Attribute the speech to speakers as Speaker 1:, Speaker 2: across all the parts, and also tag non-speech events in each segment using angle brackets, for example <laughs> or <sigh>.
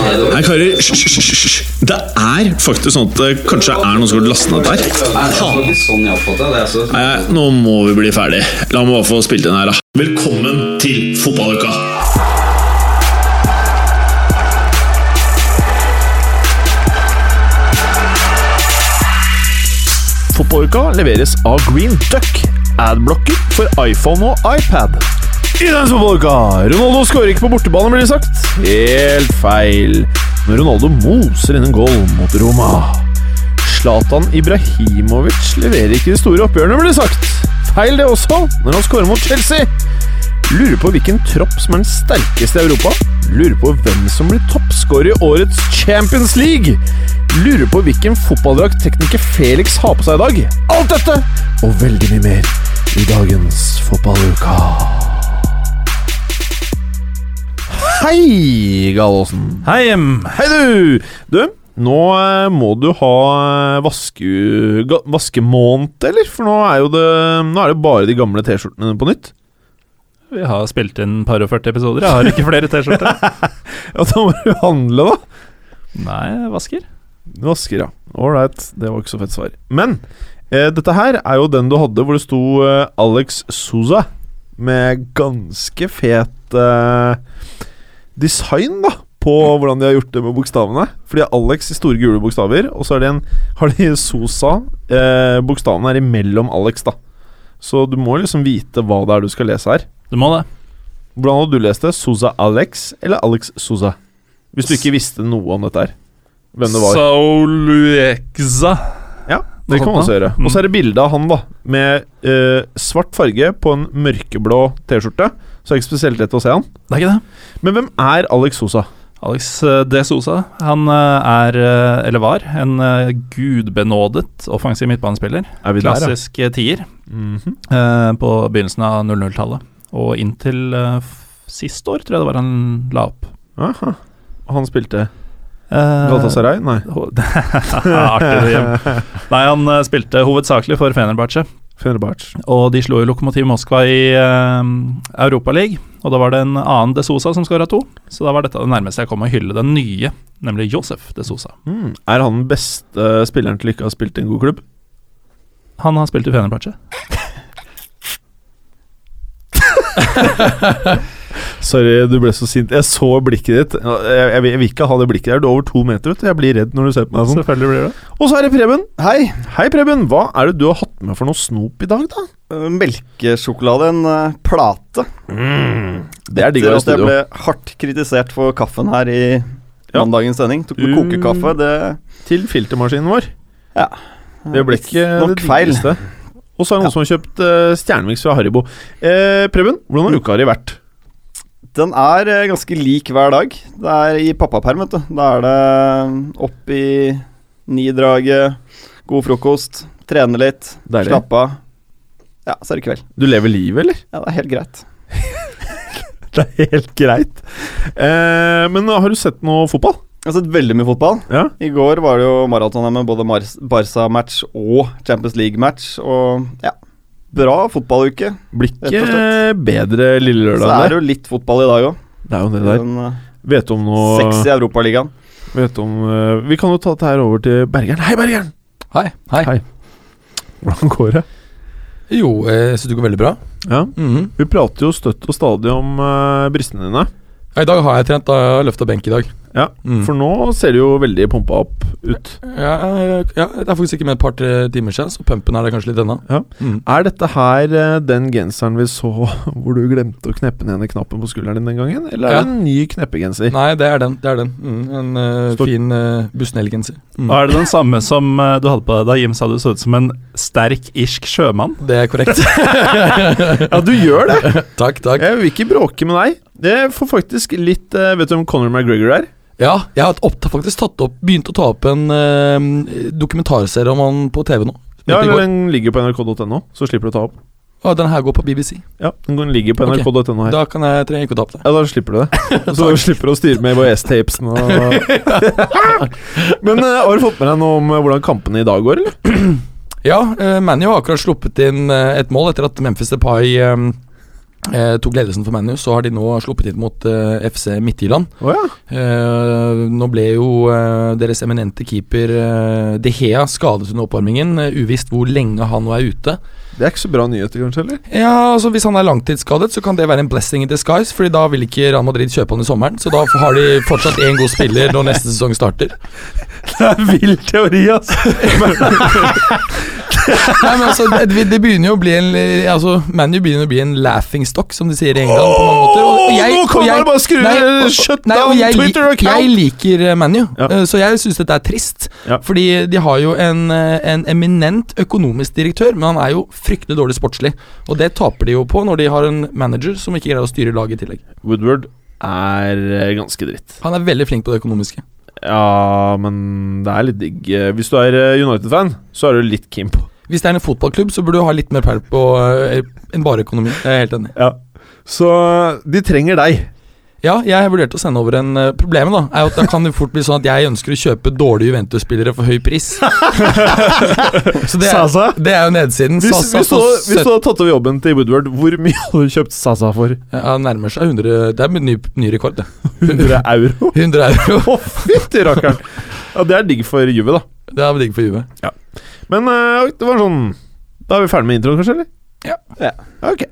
Speaker 1: hører hysj, hysj, hysj, hysj. Det er faktisk sånn at det kanskje er noen som har lastet ned der.
Speaker 2: Nei, det var ikke sånn jeg oppfattet det. Altså.
Speaker 1: Nei, nå må vi bli ferdig. La meg bare få spilt inn her, da. Velkommen til fotballuka!
Speaker 3: Fotballuka leveres av Green Duck. Adblocker for iPhone og iPad. I denne fotballuka Ronaldo skårer ikke på bortebane, blir det sagt. Helt feil. Når Ronaldo moser inn en goal mot Roma. Zlatan Ibrahimovic leverer ikke de store oppgjørene, blir det sagt. Feil det også, når han skårer mot Chelsea. Lurer på hvilken tropp som er den sterkeste i Europa. Lurer på hvem som blir toppskårer i årets Champions League. Lurer på hvilken fotballdrakt tekniker Felix har på seg i dag. Alt dette og veldig mye mer i dagens Fotballuka. Hei, Gallosen.
Speaker 4: Hei, em.
Speaker 3: Hei, du! Du, nå eh, må du ha eh, vaske, ga- vaskemåned, eller? For nå er, jo det, nå er det bare de gamle T-skjortene på nytt.
Speaker 4: Vi har spilt inn par og 40 episoder. Jeg har ikke flere T-skjorter.
Speaker 3: Ja, da må du handle, da.
Speaker 4: Nei, jeg vasker.
Speaker 3: Du vasker, ja. Ålreit. Det var ikke så fett svar. Men eh, dette her er jo den du hadde hvor det sto eh, Alex Souza med ganske fet eh, design, da. På hvordan de har gjort det med bokstavene. For de har Alex i store gule bokstaver, og så er det en, har de Sosa. Eh, bokstavene er imellom Alex, da. Så du må liksom vite hva det er du skal lese her.
Speaker 4: Du må det.
Speaker 3: Hvordan hadde du lest det? Souza Alex eller Alex Souza? Hvis du ikke visste noe om dette her. Hvem det var.
Speaker 4: Sauluekza.
Speaker 3: Det kan man også gjøre.
Speaker 4: Mm.
Speaker 3: Og så er det bilde av han, da. Med eh, svart farge på en mørkeblå T-skjorte. Så det er ikke spesielt lett å se han.
Speaker 4: Det er ikke det.
Speaker 3: Men hvem er Alex Sosa?
Speaker 4: Alex eh, De Sosa han eh, er, eh, eller var, en eh, gudbenådet offensiv midtbanespiller.
Speaker 3: Er vi der,
Speaker 4: Klassisk eh, tier
Speaker 3: ja? Mhm.
Speaker 4: eh, på begynnelsen av 00-tallet. Og inntil eh, f- sist år, tror jeg det var han la opp.
Speaker 3: Aha. Og han spilte
Speaker 4: Eh,
Speaker 3: Galatasaray? Nei.
Speaker 4: <laughs> Artig. hjem. Nei, han eh, spilte hovedsakelig for Fenerbahçe.
Speaker 3: <laughs> Fenerbahçe.
Speaker 4: Og de slo jo Lokomotiv Moskva i uh, Europaligaen. Og da var det en annen De Sosa som skåra to. Så da var dette det nærmeste jeg kom å hylle den nye, nemlig Josef De Sosa.
Speaker 3: Mm. Er han den beste spilleren til ikke å ha spilt i en god klubb?
Speaker 4: Han har spilt i Fenerbahçe.
Speaker 3: Sorry, du ble så sint. Jeg så blikket ditt. Jeg, jeg, vil- jeg vil ikke ha det blikket der. Du er over to meter, vet du. Jeg blir redd når du ser på meg sånn.
Speaker 4: Selvfølgelig blir det.
Speaker 3: Og så er det Preben. Hei. Hei, Preben. Hva er det du har hatt med for noe snop i dag, da?
Speaker 5: Eh, Melkesjokolade, en eh, plate.
Speaker 3: Det er digg å være i
Speaker 5: Etter at jeg
Speaker 3: studio.
Speaker 5: ble hardt kritisert for kaffen her i
Speaker 3: Ja.
Speaker 5: mandagens sending. Tok med
Speaker 3: Mm.
Speaker 5: kokekaffe. Det
Speaker 3: Til filtermaskinen vår. Det ble ikke
Speaker 5: nok
Speaker 3: det
Speaker 5: feil.
Speaker 3: diggeste. Og så er det noen som har kjøpt uh, stjernemix fra Haribo. Eh, Preben,
Speaker 5: Mm.
Speaker 3: hvordan har uka di vært?
Speaker 5: Den er eh, ganske lik hver dag. Det er i pappaperm, vet du. Da er det eh, opp i ni-draget, god frokost, trene litt,
Speaker 3: Deilig.
Speaker 5: slappe av. Ja, så er det kveld.
Speaker 3: Du lever livet,
Speaker 5: <laughs>
Speaker 3: eller?
Speaker 5: Ja, det er helt greit.
Speaker 3: Det er helt greit. Eh, men har du sett noe fotball?
Speaker 5: Jeg har sett veldig mye fotball.
Speaker 3: Ja.
Speaker 5: I går var det jo maraton her med både Mars- Barca-match og Champions League-match. Og ja, bra fotballuke.
Speaker 3: Blir
Speaker 5: Rett og
Speaker 3: ikke bedre lille
Speaker 5: Så
Speaker 3: lørdag
Speaker 5: er det
Speaker 3: enn det?
Speaker 5: jo litt fotball i dag òg.
Speaker 3: Det er jo det der.
Speaker 5: Den eh,
Speaker 3: Vet du om
Speaker 5: seks
Speaker 3: noe
Speaker 5: i Europaligaen.
Speaker 3: vet du om, eh, Vi kan jo ta dette her over til Bergeren. Hei, Bergeren!
Speaker 6: Hei. Hei.
Speaker 3: Hei. Hvordan går det?
Speaker 6: Jo, eh, jeg syns det går veldig bra.
Speaker 3: Ja. Vi prater jo støtt og stadig om eh, brystene dine.
Speaker 6: Ja, I dag har jeg trent. Da har jeg løfta benk i dag.
Speaker 3: Ja,
Speaker 6: Mm.
Speaker 3: For nå ser du jo veldig pumpa opp ut.
Speaker 6: ja, ja, ja, det er faktisk ikke med et par-tre timer siden, så pumpen er det kanskje litt ennå.
Speaker 3: Ja.
Speaker 6: Mm.
Speaker 3: Er dette her eh, den genseren vi så <laughs> hvor du glemte å kneppe ned den knappen på skulderen din den gangen? Eller er
Speaker 6: Ja.
Speaker 3: det en ny kneppegenser?
Speaker 6: Nei, det er den. Det er den. Mm, en eh,
Speaker 3: Står-
Speaker 6: fin uh, Busnell-genser. Mm.
Speaker 4: Og er det den samme som eh, du hadde på deg da Jim sa du så ut som en sterk irsk sjømann? <laughs>
Speaker 6: Det er korrekt.
Speaker 3: Ja, du gjør
Speaker 6: <laughs>
Speaker 3: det!
Speaker 6: takk, takk.
Speaker 3: Jeg vil ikke bråke med deg. Det får faktisk litt eh, Vet du hvem Conor McGregor er?
Speaker 6: Ja, jeg har opp, faktisk tatt opp Begynt å ta opp en eh, dokumentarserie om han på TV nå. Som
Speaker 3: Ja,
Speaker 6: heter
Speaker 3: eller
Speaker 6: Går-
Speaker 3: Den ligger på nrk.no, så slipper du å ta opp.
Speaker 6: Å, den her går på BBC.
Speaker 3: Ja, Den går- ligger på
Speaker 6: Ok.
Speaker 3: nrk.no her.
Speaker 6: Da kan jeg trenger jeg ikke å ta opp det.
Speaker 3: Ja, da slipper du
Speaker 6: <laughs>
Speaker 3: det. Så du slipper å styre med VHS-tapesen og Men eh, har du fått med deg noe om eh, hvordan kampene i dag går, eller?
Speaker 6: Ja, uh, ManU har akkurat sluppet inn eh, et mål etter at Memphis Depay eh, eh, tok ledelsen for ManU, så har de nå sluppet inn mot eh, FC Midtjylland.
Speaker 3: Å ja.
Speaker 6: Eh, nå ble jo eh, deres eminente keeper eh, De Hea skadet under oppvarmingen. eh, uvisst hvor lenge han nå er ute.
Speaker 3: Det er ikke så bra nyheter, kanskje? eller?
Speaker 6: Ja, altså Hvis han er langtidsskadet, så kan det være en blessing in disguise, Fordi da vil ikke Real Madrid kjøpe han i sommeren. Så da har de fortsatt én god spiller når neste sesong starter.
Speaker 3: Det er vill teori, altså!
Speaker 6: <laughs> Nei, men altså, det, det begynner jo å bli en altså, ManU begynner å bli en laughing stock, som de sier i England. på mange måter og jeg,
Speaker 3: Åh, nå
Speaker 6: og
Speaker 3: kommer
Speaker 6: jeg-
Speaker 3: det bare skru-
Speaker 6: nei, og- og-
Speaker 3: shut
Speaker 6: nei, og
Speaker 3: down
Speaker 6: jeg, lik-
Speaker 3: Twitter-account.
Speaker 6: Jeg liker eh, ManU,
Speaker 3: Ja.
Speaker 6: eh, så jeg syns dette er trist.
Speaker 3: Ja.
Speaker 6: Fordi de har jo en, eh, en eminent økonomisk direktør, men han er jo fryktelig dårlig sportslig. Og det taper de jo på når de har en manager som ikke greier å styre laget i tillegg.
Speaker 3: Woodward er eh, ganske dritt.
Speaker 6: Han er veldig flink på det økonomiske.
Speaker 3: Ja, men det er litt digg. Eh, Hvis du er eh, United-fan, så er du litt keen på
Speaker 6: Hvis det er en fotballklubb, så burde du ha litt mer peil på eh, enn bare økonomi. Det er jeg helt enig i.
Speaker 3: Ja. Så eh, de trenger deg.
Speaker 6: Ja, jeg vurderte å sende over en eh, Problemet da, er jo at da kan det fort bli sånn at jeg ønsker å kjøpe dårlige Juventus-spillere for høy pris.
Speaker 3: <laughs>
Speaker 6: så det er,
Speaker 3: Sasa?
Speaker 6: det er jo nedsiden.
Speaker 3: Hvis,
Speaker 6: Sasa
Speaker 3: hvis, du,
Speaker 6: på
Speaker 3: hvis du hadde tatt over jobben til Woodward, hvor mye hadde du kjøpt Sasa for?
Speaker 6: 70 Ja, nærmer seg 100 Det er en ny, ny rekord, det.
Speaker 3: 100 euro?
Speaker 6: 100 euro.
Speaker 3: Å, fytti rakkeren! Ja, det er digg for Juve, da.
Speaker 6: Det er digg for Juve.
Speaker 3: Men eh, oi, det var sånn Da er vi ferdig med introen, kanskje? eller?
Speaker 6: Ja.
Speaker 3: ja. Ok.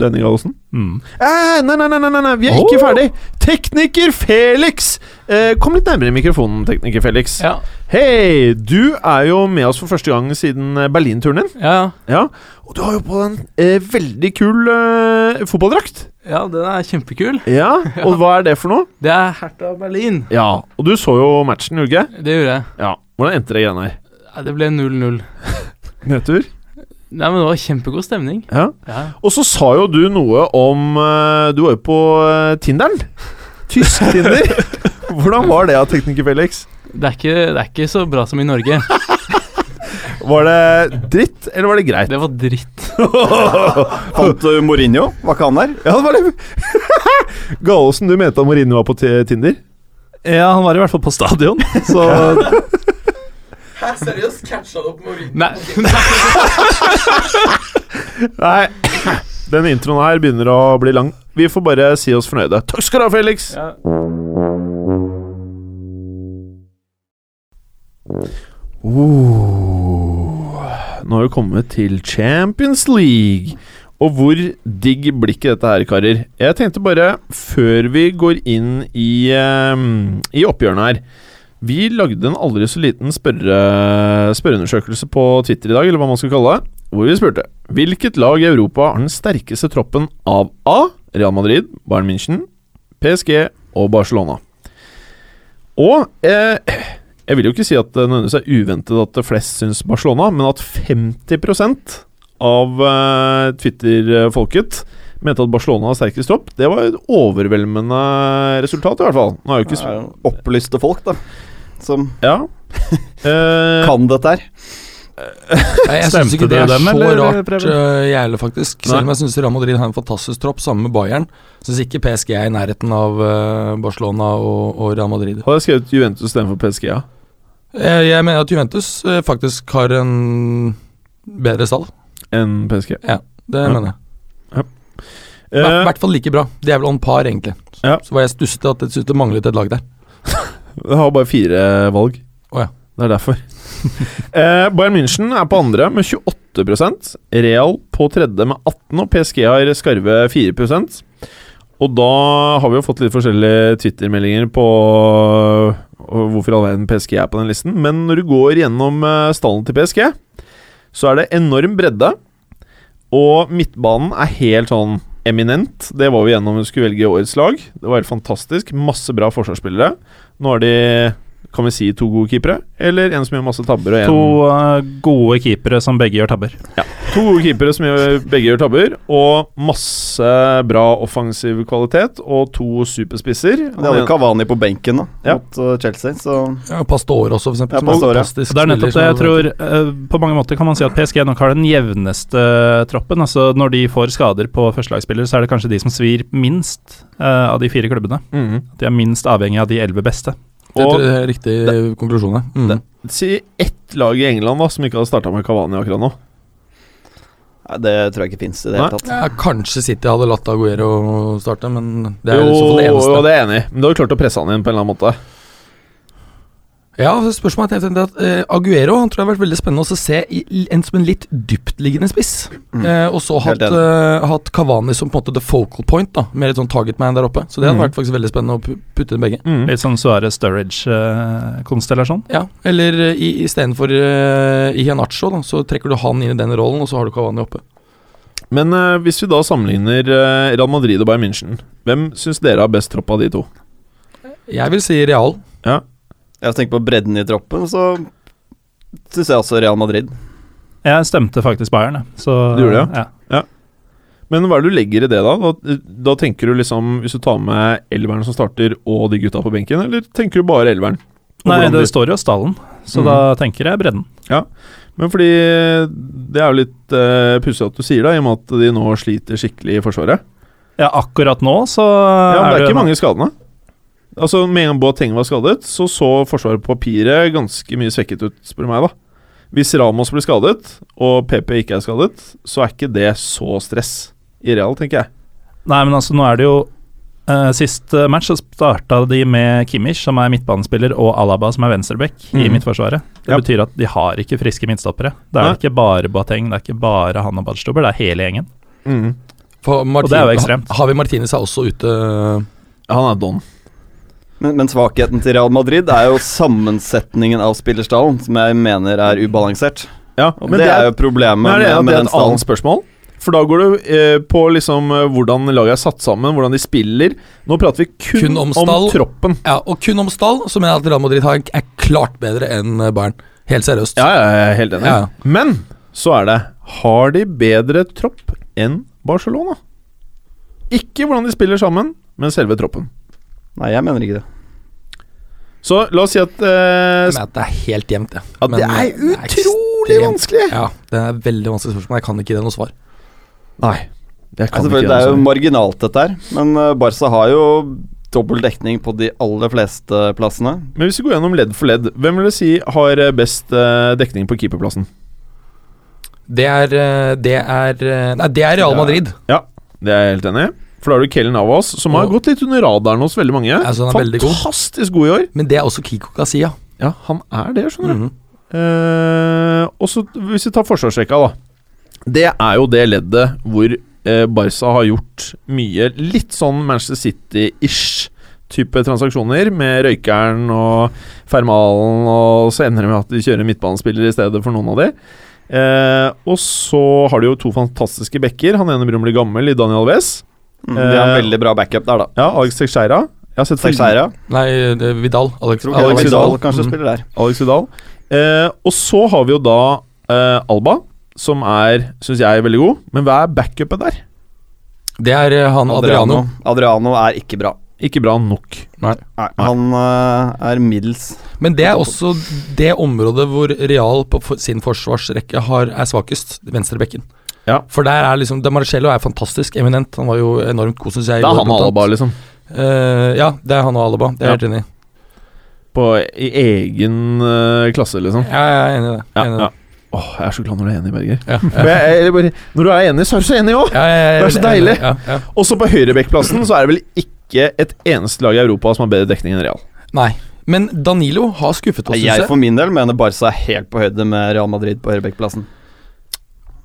Speaker 3: Denne Gallosen?
Speaker 4: Mm.
Speaker 3: Eh, nei, nei, nei, nei, nei, nei, vi er ikke ferdig! Tekniker Felix! Eh, kom litt nærmere mikrofonen, tekniker Felix.
Speaker 7: Ja,
Speaker 3: Hei, du er jo med oss for første gang siden eh, Berlin-turen din.
Speaker 7: ja, ja.
Speaker 3: Ja, Og du har jo på deg en eh, veldig kul eh, fotballdrakt.
Speaker 7: ja, den er kjempekul.
Speaker 3: Ja, Og hva er det for noe?
Speaker 7: Det er Hertha Berlin.
Speaker 3: Ja, Og du så jo matchen, gjorde du ikke?
Speaker 7: Det gjorde jeg.
Speaker 3: Ja. Hvordan endte det greiene her?
Speaker 7: Nei, Det ble 0-0.
Speaker 3: Nedtur?
Speaker 7: Nei, men det var kjempegod stemning.
Speaker 3: Ja.
Speaker 7: Ja.
Speaker 3: Og så sa jo du noe om eh, Du var jo på eh, Tinderen. Tysk Tinder. Hvordan var det, tekniker Felix?
Speaker 7: Det, er ikke, det er ikke så bra som i
Speaker 4: <laughs>
Speaker 7: Norge.
Speaker 3: Var det dritt, eller var det
Speaker 4: <laughs>
Speaker 3: greit?
Speaker 7: Det var dritt.
Speaker 5: Fant du Mourinho? Var ikke han der?
Speaker 3: Ja, det var det. <laughs> Gallosen, du mente at Mourinho var på Ti- Tinder?
Speaker 4: Ja, han var i hvert fall på stadion, så
Speaker 6: Seriøst, catcha du opp Mourinho?
Speaker 7: Nei, <laughs>
Speaker 3: Nei. Den introen her begynner å bli lang. Vi får bare si oss fornøyde. Takk skal du ha, Felix!
Speaker 7: Ja.
Speaker 3: Oh. Uh, Nå har vi kommet til Champions League. Og hvor digg blir ikke dette her, karer? Jeg tenkte bare, før vi går inn i, eh, i oppgjørene her Vi lagde en aldri så liten spørre, spørreundersøkelse på Twitter i dag, eller hva man skal kalle det, hvor vi spurte Hvilket lag i Europa har den sterkeste troppen av A. Real Madrid, Bayern München, PSG og Barcelona? Og eh, jeg vil jo ikke si at det nødvendigvis er uventet at flest syns Barcelona, men at 50 av eh, Twitter-folket mente at Barcelona har sterkest tropp, det var et overveldende resultat, i hvert fall. Nå er jo ikke
Speaker 5: Det
Speaker 3: så
Speaker 5: er jo Opplyste folk, da. Som
Speaker 3: Ja.
Speaker 6: <laughs>
Speaker 3: Eh,
Speaker 5: kan dette her.
Speaker 6: Jeg syns
Speaker 4: Stemte
Speaker 6: ikke det
Speaker 4: det
Speaker 6: er
Speaker 4: dem,
Speaker 6: så
Speaker 4: eller,
Speaker 6: rart,
Speaker 4: Preben?
Speaker 6: eh, jeg heller, faktisk.
Speaker 3: Nei.
Speaker 6: Selv om jeg syns Real Madrid har en fantastisk tropp, sammen med Bayern. Syns ikke PSG er i nærheten av eh, Barcelona og, og Real Madrid.
Speaker 3: hadde jeg skrevet Juventus istedenfor PSG, ja?
Speaker 6: Eh, Jeg mener at Juventus eh, faktisk har en bedre stall.
Speaker 3: Enn PSG.
Speaker 6: Det
Speaker 3: Ja.
Speaker 6: mener jeg. I
Speaker 3: Eh,
Speaker 6: hvert fall like bra. De er vel on par, egentlig.
Speaker 3: Ja.
Speaker 6: Så var jeg stusset at jeg syntes det manglet et lag der.
Speaker 3: Jeg har bare fire valg.
Speaker 6: Å ja.
Speaker 3: Det er
Speaker 6: <laughs>
Speaker 3: derfor. eh, Bayern München er på andre med 28 Real på tredje med 18 og PSG har skarve 4 Og da har vi jo fått litt forskjellige Twitter-meldinger på øh, hvorfor i all verden PSG er på den listen. Men når du går gjennom eh, stallen til PSG, så er det enorm bredde. Og midtbanen er helt sånn eminent. Det var vi gjennom når vi skulle velge årets lag. Det var helt fantastisk. Masse bra forsvarsspillere. Nå har de kan vi si to gode keepere, eller en som gjør masse tabber og en
Speaker 4: to eh, gode keepere som begge gjør tabber.
Speaker 3: To gode keepere som gjør, begge gjør tabber, og masse bra offensiv kvalitet, og to superspisser.
Speaker 5: De hadde Kavani på benken da,
Speaker 3: Ja.
Speaker 5: mot eh, Chelsea, så
Speaker 6: Ja, Pastore også, for eksempel.
Speaker 5: Ja,
Speaker 6: som er
Speaker 5: Pastore.
Speaker 6: fantastisk
Speaker 4: Det er nettopp det
Speaker 6: spiller,
Speaker 4: jeg
Speaker 6: som er-
Speaker 4: tror eh, På mange måter kan man si at PSG nok har den jevneste troppen. Altså Når de får skader på førstelagsspillere, så er det kanskje de som svir minst eh, av de fire klubbene.
Speaker 3: Mhm.
Speaker 4: De er minst avhengig av de elleve beste.
Speaker 6: Jeg tror
Speaker 3: Og
Speaker 6: det er riktig konklusjon, ja. Mm.
Speaker 3: si ett lag i England da som ikke hadde starta med Kavani akkurat nå.
Speaker 5: Nei, det tror jeg ikke fins i det
Speaker 3: Nei.
Speaker 5: hele tatt.
Speaker 6: Ja, kanskje City hadde latt Aguero starte, men det er
Speaker 3: jo,
Speaker 6: i så fall det eneste.
Speaker 3: jo, det er jeg enig i. Men du hadde klart å presse han inn på en eller annen måte.
Speaker 6: Ja, så spørsmålet er jeg tenkte at eh, Aguero han tror jeg har vært veldig spennende også å se i, i- en som en litt dyptliggende spiss. Eh, og så
Speaker 5: Helt
Speaker 6: hatt, eh, hatt Kavani som på en måte the focal point, da med litt sånn target man der oppe. Så det hadde
Speaker 3: Mhm.
Speaker 6: vært faktisk veldig spennende å pu- putte inn begge.
Speaker 4: Litt sånn Suarez eh, Sturridge-konstellasjon.
Speaker 6: Ja, Eller eh, i- istedenfor uh, Iheanacho, da, så trekker du han inn i den rollen, og så har du Kavani oppe.
Speaker 3: Men eh, hvis vi da sammenligner eh, Real Madrid og Bayern München, hvem syns dere har best tropp av de to?
Speaker 6: Jeg vil si Real.
Speaker 5: Jeg tenker på bredden i troppen, så syns jeg også Real Madrid.
Speaker 4: Jeg stemte faktisk Bayern, jeg. Så,
Speaker 3: Du gjorde det,
Speaker 4: ja.
Speaker 3: Men hva er det du legger i det, da? da? Da tenker du liksom Hvis du tar med elveren som starter, og de gutta på benken, eller tenker du bare elveren? Og
Speaker 4: Nei,
Speaker 3: hvordan
Speaker 4: det
Speaker 3: blir-
Speaker 4: står jo stallen, så
Speaker 3: Mhm.
Speaker 4: da tenker jeg bredden.
Speaker 3: Men fordi Det er jo litt uh, pussig at du sier det, i og med at de nå sliter skikkelig i Forsvaret.
Speaker 4: Ja, akkurat nå så
Speaker 3: Ja, men det er
Speaker 4: jo-
Speaker 3: ikke mange skadene. Altså, Med en gang Boateng var skadet, så så Forsvaret på papiret ganske mye svekket ut, spør du meg, da. Hvis Ramos blir skadet, og PP ikke er skadet, så er ikke det så stress i real, tenker jeg.
Speaker 4: Nei, men altså, nå er det jo eh, Sist eh, match så starta de med Kimmich, som er midtbanespiller, og Alaba, som er venstreback, i
Speaker 3: Mhm.
Speaker 4: midtforsvaret. Det
Speaker 3: Ja.
Speaker 4: betyr at de har ikke friske midtstoppere. Det er
Speaker 3: Nei.
Speaker 4: ikke bare Boateng, det er ikke bare han og Badstobber, det er hele gjengen.
Speaker 6: For Martin,
Speaker 4: det er jo ekstremt.
Speaker 6: Har vi Martinez er også ute
Speaker 3: Han er don.
Speaker 5: Men, men svakheten til Real Madrid er jo sammensetningen av spillerstallen, som jeg mener er ubalansert.
Speaker 3: Ja,
Speaker 5: Og det, er jo problemet
Speaker 3: Men er det,
Speaker 5: med,
Speaker 3: det
Speaker 5: med
Speaker 3: er
Speaker 5: den
Speaker 3: et annet
Speaker 5: stallen.
Speaker 3: spørsmål. For da går det eh, på liksom eh, hvordan laget er satt sammen, hvordan de spiller. Nå prater vi kun,
Speaker 6: Kun
Speaker 3: om,
Speaker 6: om stall.
Speaker 3: troppen.
Speaker 6: Ja, og kun om stall, så mener jeg at Real Madrid har- er klart bedre enn eh, Bayern. Helt seriøst.
Speaker 3: Ja, ja, jeg er helt enig.
Speaker 6: Ja.
Speaker 3: Men så er det Har de bedre tropp enn Barcelona? Ikke hvordan de spiller sammen, men selve troppen.
Speaker 5: Nei, jeg mener ikke det.
Speaker 3: Så la oss si at, eh,
Speaker 6: Jeg mener at det er helt jevnt, jeg.
Speaker 3: at
Speaker 6: Men,
Speaker 3: Det
Speaker 6: eh,
Speaker 3: er utrolig
Speaker 6: ekstremt-
Speaker 3: vanskelig!
Speaker 6: Ja, det er veldig vanskelig spørsmål. Jeg kan ikke gi deg noe svar.
Speaker 3: Nei, jeg
Speaker 5: Ja,
Speaker 3: kan ikke
Speaker 5: selvfølgelig, det er jo
Speaker 3: gjøre Altså, det.
Speaker 5: marginalt, dette her. Men eh, Barca har jo dobbel dekning på de aller fleste plassene.
Speaker 3: Men hvis vi går gjennom ledd for ledd, hvem vil du si har eh, best eh, dekning på keeperplassen?
Speaker 6: Det er, eh, det er eh, Nei, det er Real Madrid.
Speaker 3: Det er jeg helt enig i. For da har du Kellen Navas, som har
Speaker 6: Og-
Speaker 3: gått litt under radaren hos veldig mange.
Speaker 6: Altså, han er veldig god.
Speaker 3: Fantastisk god i år.
Speaker 6: Men det er også Kiko Kasia.
Speaker 3: Ja, han er det, skjønner du.
Speaker 6: Mhm.
Speaker 3: Eh, og så hvis vi tar forsvarsrekka, da. Det er jo det leddet hvor eh, Barca har gjort mye litt sånn Manchester City-ish type transaksjoner, med Røykeren og Fermalen, og så ender det med at de kjører midtbanespiller i stedet for noen av de. Eh, og så har de jo to fantastiske backer. Han ene begynner å bli gammel, i Daniel Wes.
Speaker 5: Mm, de har
Speaker 3: Eh,
Speaker 5: en veldig bra backup der, da.
Speaker 3: Ja, Alex Teixeira. Jeg har sett for lite
Speaker 5: Teixeira.
Speaker 6: Nei, det er Vidal. Alex,
Speaker 5: Tror
Speaker 3: Alex
Speaker 5: Alex
Speaker 3: Vidal,
Speaker 5: Vidal kanskje
Speaker 6: Mm.
Speaker 5: spiller der.
Speaker 3: Alex Vidal. Eh, og så har vi jo da eh, Alba, som er, syns jeg, veldig god. Men hva er backupet der?
Speaker 6: Det er eh, han Adriano.
Speaker 5: Adriano er ikke bra.
Speaker 3: Ikke bra nok.
Speaker 5: Nei, han eh, er middels.
Speaker 6: Men det er også det området hvor Real på for- sin forsvarsrekke har, er svakest. Venstrebekken.
Speaker 3: Ja.
Speaker 6: For der er liksom Da Marcello er fantastisk eminent. Han var jo enormt god, syns jeg. i
Speaker 3: Det
Speaker 6: går,
Speaker 3: er han og
Speaker 6: blant annet.
Speaker 3: Alba, liksom.
Speaker 6: Eh, ja, det er han og Alaba. Det er jeg helt enig i.
Speaker 3: På, I egen eh, klasse, liksom.
Speaker 6: Ja, jeg er enig i det. Jeg
Speaker 3: Ja,
Speaker 6: er enig i
Speaker 3: ja.
Speaker 6: det.
Speaker 3: Åh, jeg er så glad når du er enig, Berger.
Speaker 6: Ja, ja.
Speaker 3: For jeg, jeg, bare, når du er enig, så er du så enig òg!
Speaker 6: Ja, ja, ja,
Speaker 3: Det er så
Speaker 6: jeg enig i
Speaker 3: deilig.
Speaker 6: Ja, ja.
Speaker 3: Også på høyrebekkplassen så er det vel ikke et eneste lag i Europa som har bedre dekning enn Real.
Speaker 6: Nei. Men Danilo har skuffet oss,
Speaker 5: Nei,
Speaker 6: syns
Speaker 5: Jeg
Speaker 6: jeg.
Speaker 5: for min del mener Barca er helt på høyde med Real Madrid på høyrebekkplassen.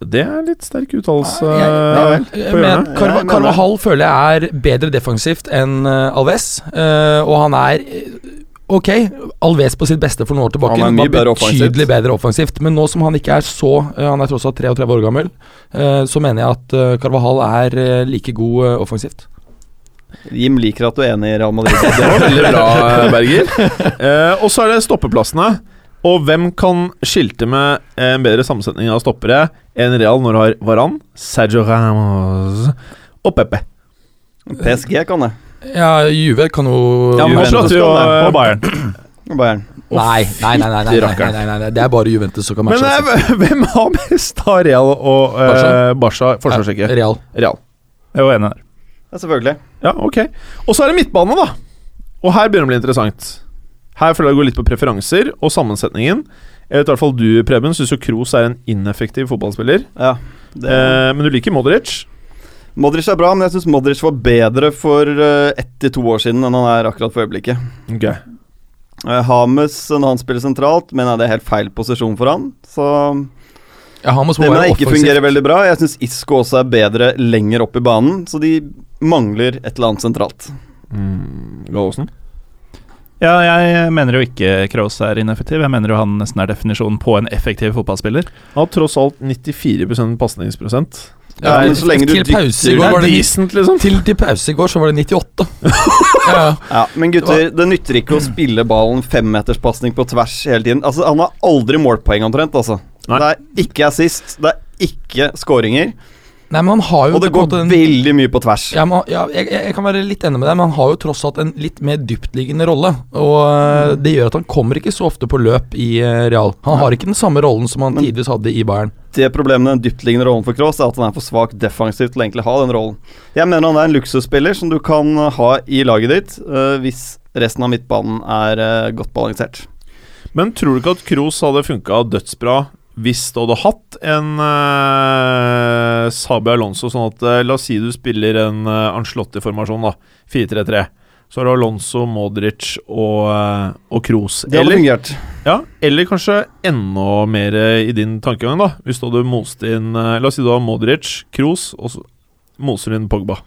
Speaker 3: Det er litt sterk uttalelse.
Speaker 6: Nei,
Speaker 5: Ja vel.
Speaker 3: På
Speaker 6: Men
Speaker 3: hjørnet.
Speaker 5: Ja,
Speaker 6: Carva-
Speaker 5: jeg mener
Speaker 6: Carvajal føler jeg er bedre defensivt enn eh, Alves. eh, og han er eh, Ok, Alves på sitt beste for noen år tilbake.
Speaker 5: Han er mye
Speaker 6: var
Speaker 5: bedre offensivt.
Speaker 6: betydelig bedre offensivt. Men nå som han ikke er så eh, Han er tross alt 33 år gammel, eh, så mener jeg at eh, Carvajal er eh, like god eh, offensivt.
Speaker 5: Jim liker at du er enig i Real
Speaker 3: <laughs>
Speaker 5: Madrid.
Speaker 3: Det var veldig bra, Berger. Eh, og så er det stoppeplassene. Og hvem kan skilte med en bedre sammensetning av stoppere enn Real når du har Varan, Sergio Ramos og Pepe?
Speaker 5: PSG kan det.
Speaker 6: Ja, Juve kan jo
Speaker 3: Ja, men nå
Speaker 5: Juventus
Speaker 3: prater vi jo eh,
Speaker 5: kan det.
Speaker 4: Og Bayern.
Speaker 5: Bayern.
Speaker 6: nei, nei, nei, nei, nei, nei,
Speaker 3: fytti
Speaker 6: nei,
Speaker 3: rakkeren.
Speaker 6: nei, nei, nei, Det er bare Juventus som kan
Speaker 3: Men
Speaker 6: matche. oss.
Speaker 3: eh, <laughs> hvem har mest av Real og eh, Barca? Forsvarssjekke.
Speaker 6: Real.
Speaker 3: Real.
Speaker 4: Jeg er jo enig der.
Speaker 5: Ja, selvfølgelig.
Speaker 3: Ja, ok. Og så er det midtbane, da. Og her begynner det å bli interessant. Her føler jeg det går litt på preferanser og sammensetningen. Jeg vet i hvert fall du, Preben, syns jo Kroos er en ineffektiv fotballspiller.
Speaker 5: Ja. Det,
Speaker 3: Eh, men du liker Modric.
Speaker 5: Modric er bra, men jeg syns Modric var bedre for eh, ett til to år siden enn han er akkurat for øyeblikket.
Speaker 3: Okay.
Speaker 5: Eh, Hames når han spiller sentralt, mener jeg det er helt feil posisjon for han. Så
Speaker 6: Ja, Hamas må
Speaker 5: det mener
Speaker 6: være
Speaker 5: jeg ikke
Speaker 6: offensiv.
Speaker 5: fungerer veldig bra. Jeg syns Isco også er bedre lenger opp i banen, så de mangler et eller annet sentralt.
Speaker 3: Mm, Gallosen.
Speaker 4: Ja, jeg mener jo ikke Kroos er ineffektiv. Jeg mener jo han nesten er definisjonen på en effektiv fotballspiller.
Speaker 3: Han har tross alt 94 pasningsprosent.
Speaker 5: Ja, men så lenge du
Speaker 6: til pause i
Speaker 5: dytter-
Speaker 6: går
Speaker 5: Det er
Speaker 6: var det
Speaker 3: decent, liksom.
Speaker 6: Til, til pause i går så var det 98. ja, ja.
Speaker 5: Ja, Men gutter, det nytter ikke å spille ballen femmeterspasning på tvers hele tiden. Altså, Han har aldri målpoeng, omtrent. altså
Speaker 3: Nei.
Speaker 5: Det er ikke assist, det er ikke skåringer.
Speaker 6: Nei, men han har jo
Speaker 5: Og det
Speaker 6: på
Speaker 5: går
Speaker 6: en måte en-
Speaker 5: veldig mye på tvers.
Speaker 6: ja, men, han- ja, jeg, jeg jeg kan være litt enig med deg, men han har jo tross alt en litt mer dyptliggende rolle. Og øh,
Speaker 5: Mm.
Speaker 6: det gjør at han kommer ikke så ofte på løp i øh, Real. Han har ikke den samme rollen som han
Speaker 5: Men-
Speaker 6: tidvis hadde i Bayern.
Speaker 5: Det problemet med den dyptliggende rollen for Kroos er at han er for svak defensivt til å egentlig ha den rollen. Jeg mener han er en luksusspiller som du kan eh, ha i laget ditt eh, hvis resten av midtbanen er eh, godt balansert.
Speaker 3: Men tror du ikke at Kroos hadde funka dødsbra hvis du hadde hatt en eh, Sabi Alonso sånn at eh, La oss si du spiller en eh, Ancelotti-formasjon, da. 4-3-3. Så har du Alonso, Modric og, eh, og Kroos.
Speaker 5: Det hadde
Speaker 3: Eller,
Speaker 5: fungert.
Speaker 3: ja, eller kanskje enda mer eh, i din tankegang, da. Hvis du hadde most inn eh, La oss si du har Modric, Kroos, og så moser du inn Pogba.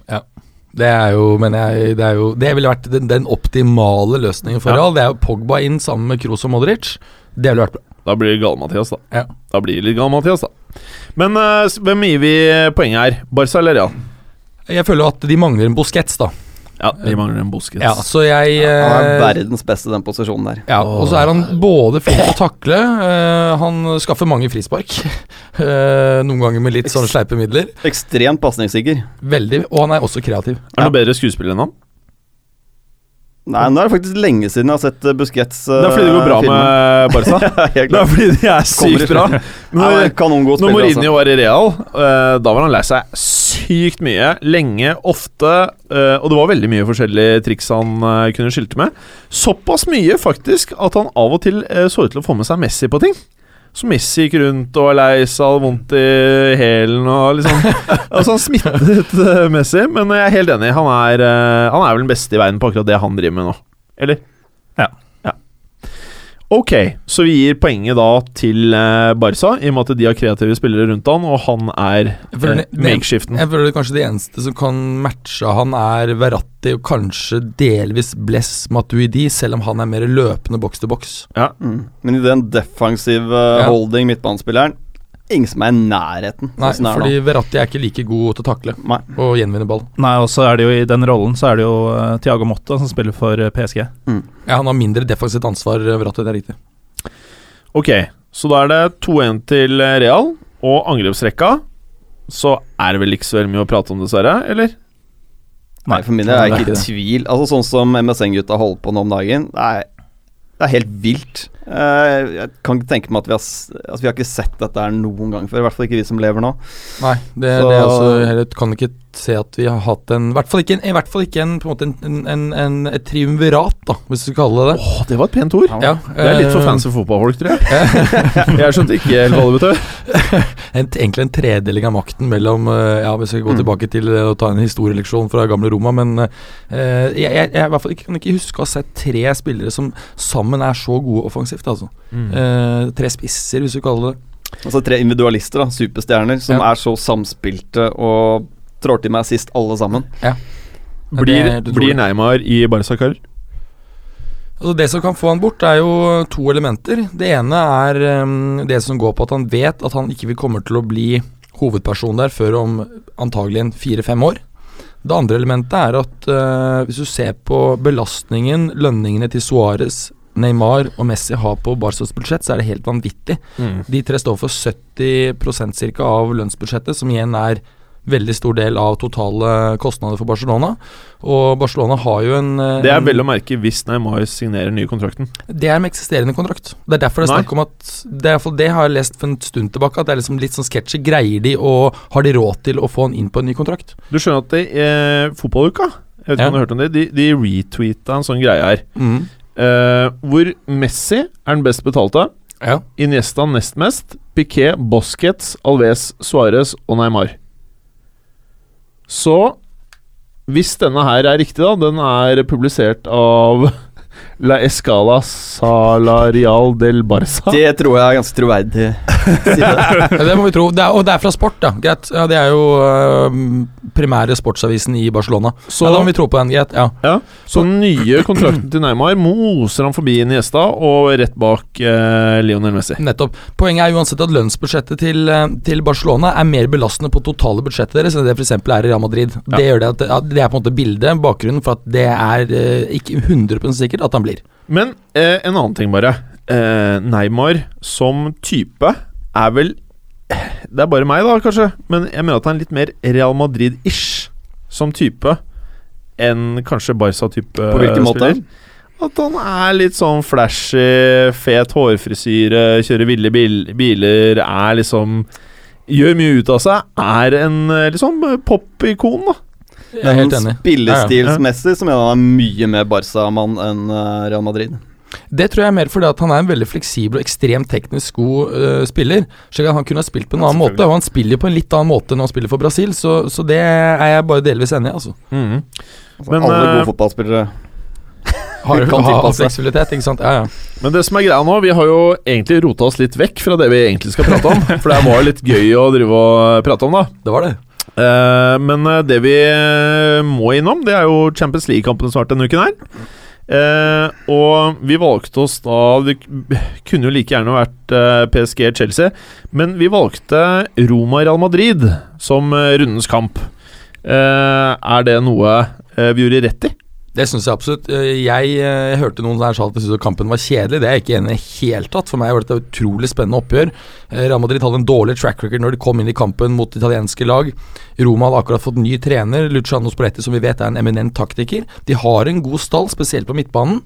Speaker 6: Det er jo, men jeg, det er jo Det ville vært den, den optimale løsningen for
Speaker 3: Ja.
Speaker 6: Real. Det er jo Pogba inn sammen med Kroos og Modric. Det ville vært bra.
Speaker 3: Da blir det Gale-Mathias, da.
Speaker 6: Ja.
Speaker 3: Da blir det litt Gale-Mathias, da. Men eh, s- hvem gir vi poenget her? Barca eller Real?
Speaker 6: Jeg føler jo at de mangler en Busquets, da.
Speaker 3: Ja, de mangler en Busquets.
Speaker 6: Ja, så jeg
Speaker 5: Han er
Speaker 6: eh,
Speaker 5: verdens beste i den posisjonen der.
Speaker 6: Ja, og så er han både flink til å takle, eh, han skaffer mange frispark. <laughs> eh, noen ganger med litt sånn sleipe midler.
Speaker 5: Ekstremt pasningssikker.
Speaker 6: Veldig, og han er også kreativ.
Speaker 3: Er det noe bedre skuespiller enn han?
Speaker 5: Nei, nå er det faktisk lenge siden jeg har sett eh, Busquets eh,
Speaker 3: Det er fordi det går bra
Speaker 5: <laughs>
Speaker 3: med <laughs> Barca.
Speaker 5: Helt
Speaker 3: Det er
Speaker 5: klart.
Speaker 3: fordi de er
Speaker 5: Kommer i
Speaker 3: sykt bra.
Speaker 5: Han er
Speaker 3: Når,
Speaker 5: en Kanongod
Speaker 3: når
Speaker 5: spiller, altså.
Speaker 3: Mourinho var i Real, eh, da var han lei seg sykt mye. Lenge, ofte. eh, og det var veldig mye forskjellige triks han eh, kunne skilte med. Såpass mye, faktisk, at han av og til eh, så ut til å få med seg Messi på ting. Så Messi gikk rundt og var lei seg, hadde vondt i hælen og liksom Altså, han smittet eh, Messi, men jeg er helt enig. Han er, eh, han er vel den beste i verden på akkurat det han driver med nå. Eller?
Speaker 4: Ja.
Speaker 3: Ok, så vi gir poenget da til eh, Barca, i og med at de har kreative spillere rundt han, og han er
Speaker 6: Jeg føler
Speaker 3: eh,
Speaker 6: det-
Speaker 3: makeshiften.
Speaker 6: Jeg føler kanskje det eneste som kan matche han, er Verratti og kanskje delvis Bless Matuidi, selv om han er mer løpende boks til boks.
Speaker 5: Mm. Men i den defensive eh,
Speaker 6: Ja.
Speaker 5: holding midtbanespilleren Ingen som er i nærheten.
Speaker 6: Nei,
Speaker 5: sånn er det
Speaker 6: fordi Verratti er ikke like god til å takle
Speaker 5: nå. Nei.
Speaker 6: og gjenvinne ball.
Speaker 4: Nei, og så er det jo i den rollen så er det jo eh, Thiago Motta som spiller for eh, PSG.
Speaker 6: Ja, han har mindre defensivt ansvar, eh, Verratti, det er riktig.
Speaker 3: Ok, så da er det 2-1 til eh, Real, og angrepsrekka så er det vel ikke så veldig mye å prate om, dessverre? Eller?
Speaker 5: Nei, for min del er
Speaker 6: det er
Speaker 5: jeg ikke i tvil. Altså Sånn som MSN-gutta holder på nå om dagen, det er, det er helt vilt. Eh, Jeg kan ikke tenke meg at vi har, s- altså, vi har ikke sett dette her noen gang før. I hvert fall ikke vi som lever nå.
Speaker 6: Nei, det,
Speaker 5: Så-
Speaker 6: det er altså, jeg kan ikke se at vi har hatt en I hvert fall ikke, en, i hvert fall ikke en, på en måte en, en, en, en, et triumvirat, da, hvis du skal kalle det det.
Speaker 3: Åh, det var et pent ord!
Speaker 6: Ja,
Speaker 3: Det er litt for
Speaker 6: eh,
Speaker 3: fancy fotballfolk, tror jeg. <laughs> Jeg skjønte ikke helt hva det betød.
Speaker 6: En, egentlig en tredeling av makten mellom eh, Ja, vi skal
Speaker 3: Mm.
Speaker 6: gå tilbake til eh, å ta en historieleksjon fra gamle Roma, men eh, jeg, jeg, jeg i hvert fall ikke, kan ikke huske å ha sett tre spillere som sammen er så gode offensivt, altså.
Speaker 3: Mm.
Speaker 6: Eh, tre spisser, hvis du kaller det det.
Speaker 5: Altså Tre individualister, da superstjerner, som
Speaker 6: Ja.
Speaker 5: er så samspilte og trår til meg sist, alle sammen.
Speaker 3: Blir,
Speaker 6: det er helt
Speaker 3: blir
Speaker 6: utrolig.
Speaker 3: Neymar i Barca-karer?
Speaker 6: Altså det som kan få han bort, er jo to elementer. Det ene er ehm, det som går på at han vet at han ikke vil kommer til å bli hovedperson der før om antagelig en fire-fem år. Det andre elementet er at eh, hvis du ser på belastningen lønningene til Suárez, Neymar og Messi har på Barcas budsjett, så er det helt vanvittig. De tre står for 70 cirka av lønnsbudsjettet, som igjen er veldig stor del av totale kostnader for Barcelona. Og Barcelona har jo en eh,
Speaker 3: Det er
Speaker 6: en-
Speaker 3: vel å merke hvis Neymar signerer nye kontrakten.
Speaker 6: det er med eksisterende kontrakt. Det er derfor det er
Speaker 3: Nei.
Speaker 6: snakk om at Det er i hvert fall det har jeg lest for en stund tilbake, at det er liksom litt sånn sketsjy. Greier de og har de råd til å få han inn på en ny kontrakt?
Speaker 3: Du skjønner at det, eh, fotballuka jeg vet ikke
Speaker 6: Ja.
Speaker 3: om du har hørt om det, de, de retweeta en sånn greie her. eh, hvor Messi er den best betalte,
Speaker 6: Ja.
Speaker 3: Iniesta nest mest, Piquet, Bosquez, Alves, Suárez og Neymar. Så hvis denne her er riktig, da Den er publisert av <laughs> La Escala Salarial del Barca.
Speaker 5: Det tror jeg er ganske troverdig.
Speaker 6: <laughs> Ja, det må vi tro. Det er, og det er fra Sport, ja. Greit. Ja, det er jo øhm, primære sportsavisen i Barcelona.
Speaker 3: Så-
Speaker 6: ja, da må vi tro på den, greit. Ja.
Speaker 3: Så den nye kontrakten til Neymar moser han forbi Niesta og rett bak eh, Lionel Messi.
Speaker 6: Nettopp. Poenget er uansett at lønnsbudsjettet til, eh, til Barcelona er mer belastende på totale budsjettet deres enn det f.eks. er i Real Madrid. Det, gjør det, at, at det er på en måte bildet, bakgrunnen for at det er eh, ikke 100 sikkert at han blir.
Speaker 3: Men eh, en annen ting, bare. Eh, Neymar som type er vel Det er bare meg, da, kanskje, men jeg mener at han er litt mer Real Madrid-ish som type enn kanskje Barca-type.
Speaker 5: På hvilken måte?
Speaker 3: spiller. At han er litt sånn flashy, fet hårfrisyre, kjører ville bil biler, er liksom Gjør mye ut av seg. Er en eh, liksom pop-ikon, da.
Speaker 6: Jeg er helt enig.
Speaker 5: sånn Spillestilsmessig så mener jeg han er mye mer Barca-mann enn eh, Real Madrid.
Speaker 6: Det tror jeg er mer fordi at han er en veldig fleksibel og ekstremt teknisk god eh, spiller. Slik at han kunne ha spilt på en annen måte, og han spiller på en litt annen måte når han spiller for Brasil, så, så det er jeg bare delvis enig i, altså.
Speaker 3: Mhm.
Speaker 5: Altså,
Speaker 3: Men,
Speaker 5: alle
Speaker 3: eh,
Speaker 5: gode fotballspillere.
Speaker 6: Har,
Speaker 5: Kan
Speaker 6: har
Speaker 5: tilpasse.
Speaker 6: fleksibilitet, ikke sant. Ja, ja.
Speaker 3: Men det som er greia nå, vi har jo egentlig rota oss litt vekk fra det vi egentlig skal prate om. For det var litt gøy å drive og eh, prate om, da.
Speaker 6: Det var det.
Speaker 3: Eh, men eh, det vi eh, må innom, det er jo Champions League-kampene snart denne uken her. Eh, og vi valgte oss da Det k- kunne jo like gjerne vært eh, PSG Chelsea, men vi valgte Roma-Real Madrid som eh, rundens kamp. Eh, er det noe eh, vi gjorde rett i?
Speaker 6: Det syns jeg absolutt. Eh, Jeg, eh, jeg hørte noen der sa at de syntes at kampen var kjedelig. Det er jeg ikke enig i helt tatt. For meg var dette et utrolig spennende oppgjør. Eh, Real Madrid hadde en dårlig track record når de kom inn i kampen mot italienske lag. Roma hadde akkurat fått ny trener, Luciano Spoletti, som vi vet er en eminent taktiker. De har en god stall, spesielt på midtbanen.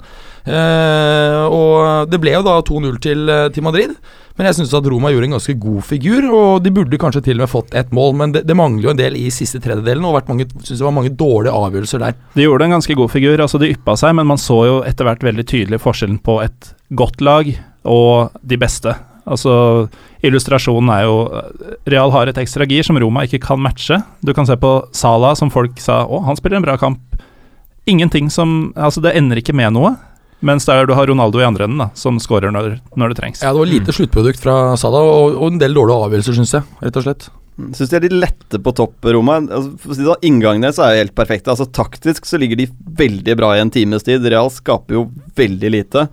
Speaker 6: Eh, og det ble jo da 2-0 til, eh, til Madrid. Men jeg syns at Roma gjorde en ganske god figur, og de burde kanskje til og med fått ett mål. Men det, det mangler jo en del i siste tredjedelen, og vært mange, synes det var mange dårlige avgjørelser der.
Speaker 4: De gjorde en ganske god figur, altså de yppa seg, men man så jo etter hvert veldig tydelig forskjellen på et godt lag og de beste. Altså, illustrasjonen er jo eh, Real har et ekstra gir som Roma ikke kan matche. Du kan se på Salah, som folk sa å, han spiller en bra kamp. Ingenting som Altså, det ender ikke med noe. Mens der du har Ronaldo i andre enden, da, som scorer når, når det trengs.
Speaker 6: Ja, det var lite sluttprodukt fra Sada, og, og en del dårlige avgjørelser, syns jeg. rett og slett.
Speaker 5: Syns de er litt lette på topp, Roma. Altså, for å si det sånn, Inngangen deres er jo helt perfekte. Altså, taktisk så ligger de veldig bra i en times tid. Real skaper jo veldig lite.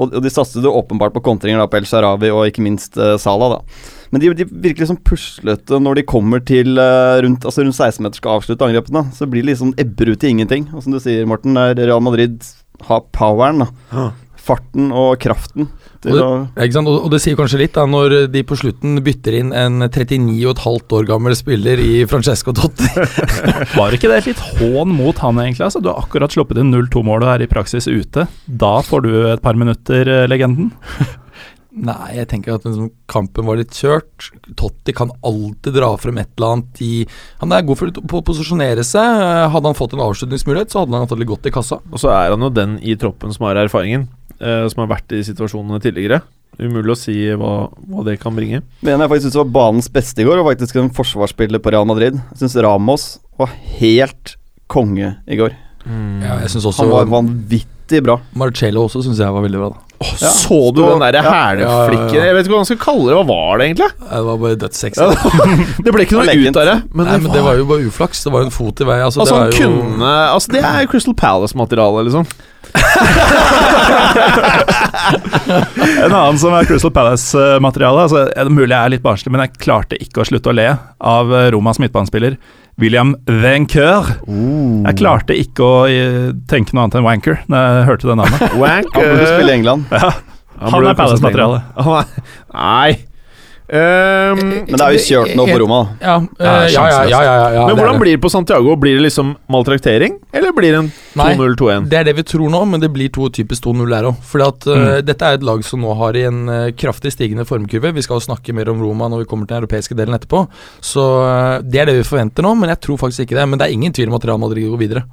Speaker 5: Og, og de satset jo åpenbart på kontringer da, på El Sharawi og ikke minst eh, Salah. Da. Men de, de virker liksom puslete når de kommer til eh, rundt, altså rundt 16-meter skal avslutte angrepene. Så blir det liksom ebber ut i ingenting. Og som du sier, Morten, der Real Madrid har poweren. Da.
Speaker 3: Ja.
Speaker 5: Farten og kraften til
Speaker 6: Og
Speaker 5: å
Speaker 6: Ja, Ikke sant? Og, og det sier kanskje litt da, når de på slutten bytter inn en 39,5 år gammel spiller i Francesco Totti.
Speaker 4: Var ikke det litt hån mot han, egentlig? Altså, du har akkurat sluppet inn 0-2-målet her i praksis ute. Da får du et par minutter, eh, legenden.
Speaker 6: <laughs> Nei, jeg tenker at liksom, kampen var litt kjørt. Totti kan alltid dra frem et eller annet i Han er god for på å posisjonere seg. Hadde han fått en avslutningsmulighet, så hadde han antakelig gått i kassa.
Speaker 3: Og så er han jo den i troppen som har erfaringen, eh, som har vært i situasjonene tidligere. Umulig å si hva, hva det kan bringe.
Speaker 5: Men en jeg faktisk synes var banens beste i går, var faktisk en forsvarsspiller på Real Madrid. Jeg syns Ramos var helt konge i går.
Speaker 6: Ja, jeg synes også
Speaker 5: Han var vanvittig bra.
Speaker 6: Marcello også syns jeg var veldig bra. Da.
Speaker 5: Ja.
Speaker 3: Så du
Speaker 5: Stå-
Speaker 3: den derre
Speaker 5: ja.
Speaker 3: hæleflikken
Speaker 6: Ja, ja, ja.
Speaker 3: Jeg vet ikke hva man skal kalle det. Hva var det egentlig?
Speaker 6: Det var bare dødssexy.
Speaker 3: Ja, Det ble ikke
Speaker 5: Det var
Speaker 3: noe
Speaker 5: lekent.
Speaker 3: ut av det. Men,
Speaker 6: Nei, men det var jo bare uflaks. Det var jo en fot i vei. Altså,
Speaker 3: Altså, han
Speaker 6: det er jo
Speaker 3: kunne Altså, det er Crystal Palace-materiale, liksom.
Speaker 4: En annen som er Crystal Palace-materiale altså, er det Mulig jeg er litt barnslig, men jeg klarte ikke å slutte å le av eh, Romas midtbanespiller William Wanker. Jeg klarte ikke å eh, tenke noe annet enn Wanker når jeg hørte det navnet.
Speaker 3: Wank
Speaker 5: Han burde
Speaker 3: eh,
Speaker 5: spille i England.
Speaker 3: han
Speaker 4: Han
Speaker 3: burde
Speaker 4: er Palace-materiale.
Speaker 3: Han er- Nei. Ehm,
Speaker 5: Men det er jo kjørt nå på Roma. da.
Speaker 6: Ja, eh,
Speaker 4: er
Speaker 6: ja, ja,
Speaker 4: sjanseløst.
Speaker 6: ja, ja, ja
Speaker 3: men
Speaker 6: det er
Speaker 3: hvordan blir det på Santiago? Blir det liksom maltraktering, eller blir det en
Speaker 6: Nei.
Speaker 3: 2-0-2-1?
Speaker 6: Det er det vi tror nå, men det blir to typisk 2-0 der òg. For eh, dette er et lag som nå har i en eh, kraftig stigende formkurve. Vi skal jo snakke mer om Roma når vi kommer til den europeiske delen etterpå. Så eh, det er det vi forventer nå, men jeg tror faktisk ikke det. Men det er ingen tvil om at Real Madrid går videre.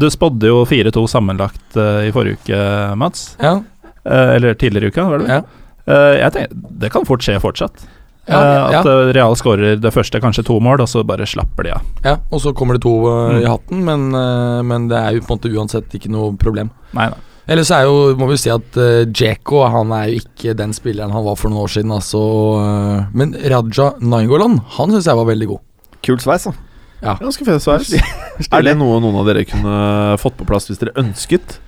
Speaker 4: Du spådde jo 4-2 sammenlagt eh, i forrige uke, Mats.
Speaker 6: Ja,
Speaker 4: Eh, eller tidligere i uka, var det vel?
Speaker 6: ja.
Speaker 4: Eh, jeg tenkte, Det kan fort skje fortsatt.
Speaker 6: Ja,
Speaker 4: Eh, at eh, Real skårer det første, kanskje to mål, og så bare slapper de av.
Speaker 6: Ja, og så kommer det to eh,
Speaker 4: Mm.
Speaker 6: i hatten, men, eh, men det er jo på en måte uansett ikke noe problem.
Speaker 4: Nei da.
Speaker 6: Ellers er jo, må vi jo si at uh, Djeko han er jo ikke den spilleren han var for noen år siden. Altså, eh, men Raja Nainggolan, han syns jeg var veldig god.
Speaker 5: Kul sveis, da.
Speaker 3: Ganske fet sveis. Er det noe noen av dere kunne fått på plass hvis dere ønsket?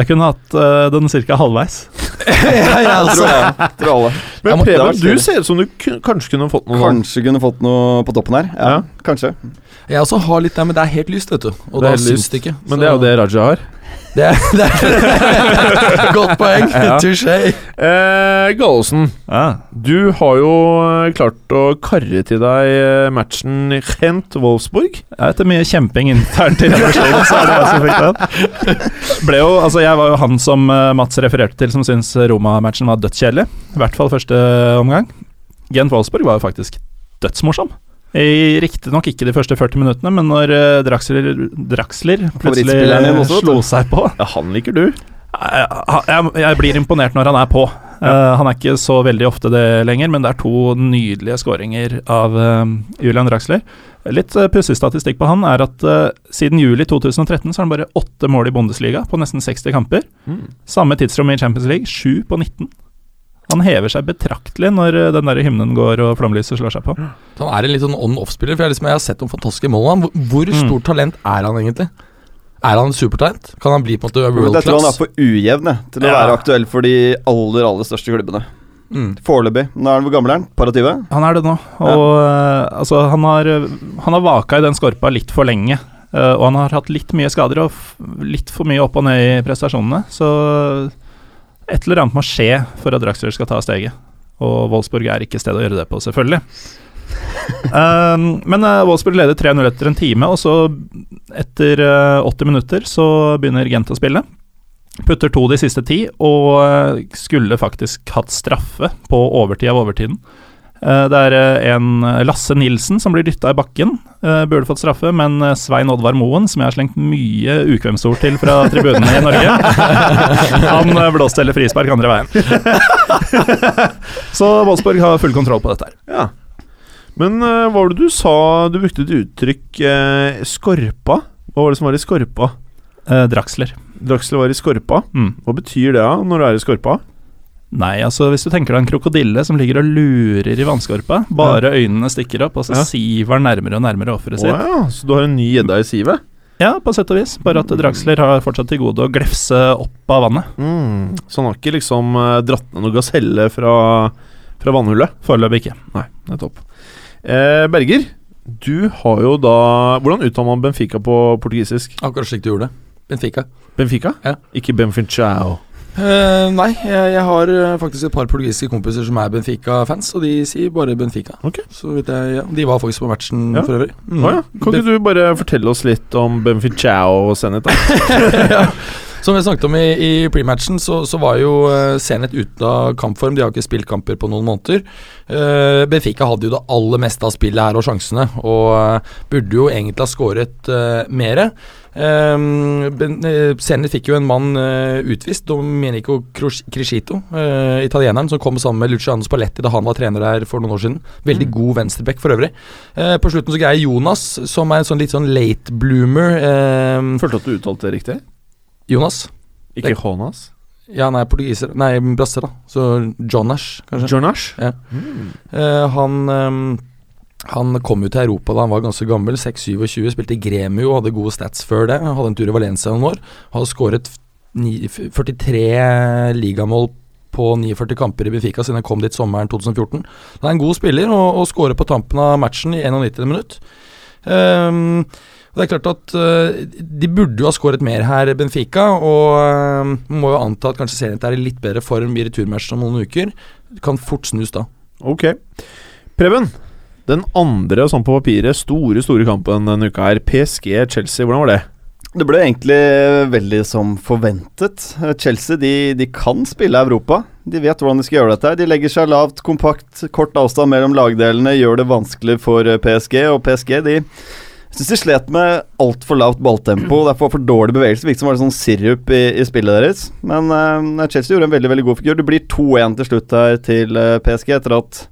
Speaker 4: Jeg kunne hatt eh, den ca. halvveis.
Speaker 5: ja, altså. ja, tror jeg. Tror alle.
Speaker 3: Men
Speaker 5: må- det var
Speaker 3: Preben, du
Speaker 5: stilig.
Speaker 3: ser ut som du kun- kanskje kunne fått noe sånt.
Speaker 5: Kanskje kunne fått noe på toppen her. Ja,
Speaker 3: Ja.
Speaker 5: Kanskje.
Speaker 6: Jeg også har litt der, men det er helt lyst, vet du.
Speaker 3: Det
Speaker 6: Og
Speaker 3: er
Speaker 6: da
Speaker 3: helt
Speaker 6: syns
Speaker 3: lyst.
Speaker 6: det ikke.
Speaker 3: Men det er jo det Raja har.
Speaker 6: det er, det er <laughs> Godt poeng.
Speaker 3: <laughs> Ja.
Speaker 6: Touché.
Speaker 3: Eh, Gallosen,
Speaker 4: Ja.
Speaker 3: du har jo eh, klart å karre til deg eh, matchen Gent-Wolfsburg.
Speaker 4: Ja, Etter mye kjemping internt i redaksjonen, så er det jeg som fikk den. Ble jo, altså jeg var jo han som eh, Mats refererte til, som syntes Roma-matchen var dødskjedelig. I hvert fall første eh, omgang. Gent Wolfsburg var jo faktisk dødsmorsom. Riktignok ikke de første 40 minuttene, men når eh, Draxler, Draxler plutselig eh,
Speaker 5: Favorittspilleren din også, vet du.
Speaker 4: slo seg på
Speaker 3: Ja, han liker du.
Speaker 4: jeg, jeg, jeg blir imponert når han er på. Eh, han er ikke så veldig ofte det lenger, men det er to nydelige skåringer av eh, Julian Draxler. Litt eh, pussig statistikk på han er at eh, siden juli 2013 så har han bare åtte mål i Bundesliga på nesten 60 kamper. Samme tidsrom i Champions League, sju på 19. Han hever seg betraktelig når eh, den der hymnen går og flomlyset slår seg på.
Speaker 6: Han er en litt sånn on-off-spiller, for jeg, har liksom, jeg har sett noen fantastiske mål. av Han. Hvor- Hvor
Speaker 4: Mm.
Speaker 6: stort talent er han egentlig? Er han supertalent? Kan han bli på en måte
Speaker 5: Men
Speaker 6: world
Speaker 5: Jeg tror han er
Speaker 6: class?
Speaker 5: for ujevn jeg, til å
Speaker 4: Ja.
Speaker 5: være aktuell for de aller aller største klubbene.
Speaker 6: Mm.
Speaker 5: Foreløpig. Nå er han hvor gammel er han? Par og tyve?
Speaker 4: Han er det nå. Og eh, altså, han har, han har vaka i den skorpa litt for lenge. eh, og han har hatt litt mye skader og f litt for mye opp og ned i prestasjonene. Så et eller annet må skje for at Draxler skal ta steget. Og Wolfsburg er ikke stedet å gjøre det på, selvfølgelig. Eh, men eh, Wolfsburg leder 3-0 etter en time, og så, etter eh, 80 minutter, så begynner Gent å spille. Putter to de siste ti, og eh, skulle faktisk hatt straffe på overtid av overtiden. Eh, Det er eh, en eh, Lasse Nilsen som blir dytta i bakken. Eh, Burde fått straffe, men eh, Svein Oddvar Moen, som jeg har slengt mye ukvemsord til fra tribunene i Norge, <laughs> han eh, blåste heller frispark andre veien. <laughs> Så Wolfsburg har full kontroll på dette her.
Speaker 3: Ja. Men eh, hva var det du sa? Du brukte et uttrykk eh, 'skorpa'. Hva var det som var i skorpa?
Speaker 4: Eh, Draxler.
Speaker 3: Draxler var i skorpa.
Speaker 4: Mm.
Speaker 3: Hva betyr det da, når du er i skorpa?
Speaker 4: Nei, altså hvis du tenker deg en krokodille som ligger og lurer i vannskorpa, bare øynene stikker opp, og så
Speaker 3: Ja.
Speaker 4: siver den nærmere og nærmere
Speaker 3: Å
Speaker 4: offeret sitt.
Speaker 3: ja, Ah, så du har en ny gjedde i sivet?
Speaker 4: Ja, på sett og vis, bare at Draxler har fortsatt til gode å glefse opp av vannet.
Speaker 3: Mm. Så han har ikke liksom eh, dratt ned noe gaselle fra, fra vannhullet?
Speaker 4: Foreløpig ikke.
Speaker 3: Nei, nettopp. Eh, Berger, du har jo da Hvordan uttaler man Benfica på portugisisk?
Speaker 6: Akkurat slik du gjorde det. Benfica.
Speaker 3: Benfica?
Speaker 6: Ja.
Speaker 3: Ikke Benfincao.
Speaker 6: Eh, nei, jeg, jeg har eh, faktisk et par portugisiske kompiser som er Benfica-fans, og de sier bare Benfica.
Speaker 3: Ok.
Speaker 6: Så vidt jeg, ja. De var faktisk på matchen
Speaker 3: Ja.
Speaker 6: for øvrig.
Speaker 3: Å
Speaker 6: Mm.
Speaker 3: ja. Kan ikke du bare fortelle oss litt om Benfincao og Zenit? da?
Speaker 6: ja. Som vi snakket om i, i prematchen, så, så var jo eh, Zenit ute av kampform. De har ikke spilt kamper på noen måneder. Eh, Benfica hadde jo det aller meste av spillet her og sjansene, og eh, burde jo egentlig ha skåret uh, mere. Eh, ben, eh, Zenit fikk jo en mann eh, utvist, Domenico Crus- Crescito, eh, italieneren, som kom sammen med Luciano Spalletti da han var trener der for noen år siden. Veldig god venstreback for øvrig. Eh, på slutten så greier Jonas, som er en sånn litt sånn late bloomer eh,
Speaker 3: Følte at du uttalte det riktig?
Speaker 6: Jonas?
Speaker 3: Ikke Jonas?
Speaker 6: Ja, nei, portugiser Nei, brasser, da. Så Jonash, kanskje.
Speaker 3: Jonash?
Speaker 6: Ja.
Speaker 3: Mm.
Speaker 6: Eh, han ehm, han kom jo til Europa da han var ganske gammel, 6-27, spilte i Gremio, hadde gode stats før det. Hadde en tur i Valencia noen år. Har skåret ni- 43 ligamål på 49 kamper i Benfica siden han kom dit sommeren 2014. Han er en god spiller og, og skårer på tampen av matchen i 91. minutt. Ehm, og det er klart at eh, De burde jo ha skåret mer her, Benfica. Og ehm, man må jo anta at kanskje Zenit er i litt bedre form i returmatchen om noen uker. Kan fort snus da.
Speaker 3: Ok. Preben, den andre sånn på papiret store, store kampen denne uka her, PSG-Chelsea, hvordan var det?
Speaker 5: Det ble egentlig veldig som forventet. Chelsea de, de kan spille Europa. De vet hvordan de skal gjøre dette. her. De legger seg lavt, kompakt, kort avstand mellom lagdelene, gjør det vanskelig for eh, PSG. Og PSG de syns de slet med altfor lavt balltempo. Derfor for dårlig bevegelse. Virket som var det sånn sirup i, i spillet deres. Men eh, Chelsea gjorde en veldig veldig god figur. Det blir 2-1 til slutt her til eh, PSG etter at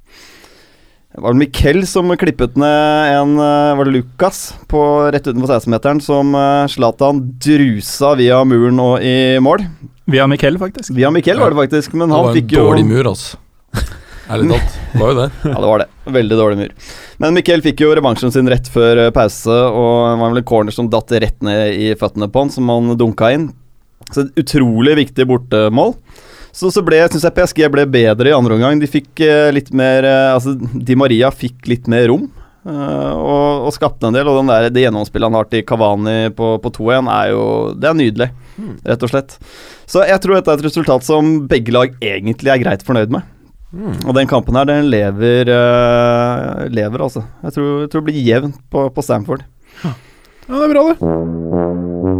Speaker 5: var det Miquel som klippet ned en eh, Var det Lucas på rett utenfor 16-meteren som eh, Zlatan drusa via muren og i mål?
Speaker 4: Via Miquel, faktisk.
Speaker 5: Via Miquel var det faktisk, men
Speaker 6: Det
Speaker 5: han
Speaker 6: var en
Speaker 5: fikk jo
Speaker 6: dårlig mur,
Speaker 5: <laughs>
Speaker 6: altså. Ærlig talt. Det var jo det.
Speaker 5: Ja, det var det. Veldig dårlig mur. Men Mikkel fikk jo revansjen sin rett før eh, pause, og det var vel en corner som datt rett ned i føttene på han, som han dunka inn. Så et utrolig viktig bortemål. Så, så ble, synes jeg PSG ble bedre i andre omgang. De fikk eh, litt mer eh, Altså, Di Maria fikk litt mer rom. eh, og, og skapte en del, og den der, det gjennomspillet han har til Kavani på, på 2-1, er jo Det er nydelig, rett og slett. Så jeg tror dette er et resultat som begge lag egentlig er greit fornøyd med. Og den kampen her, den lever, eh, lever altså. Jeg tror, jeg tror det blir jevnt på, på Stamford.
Speaker 3: Ja, det er bra, det.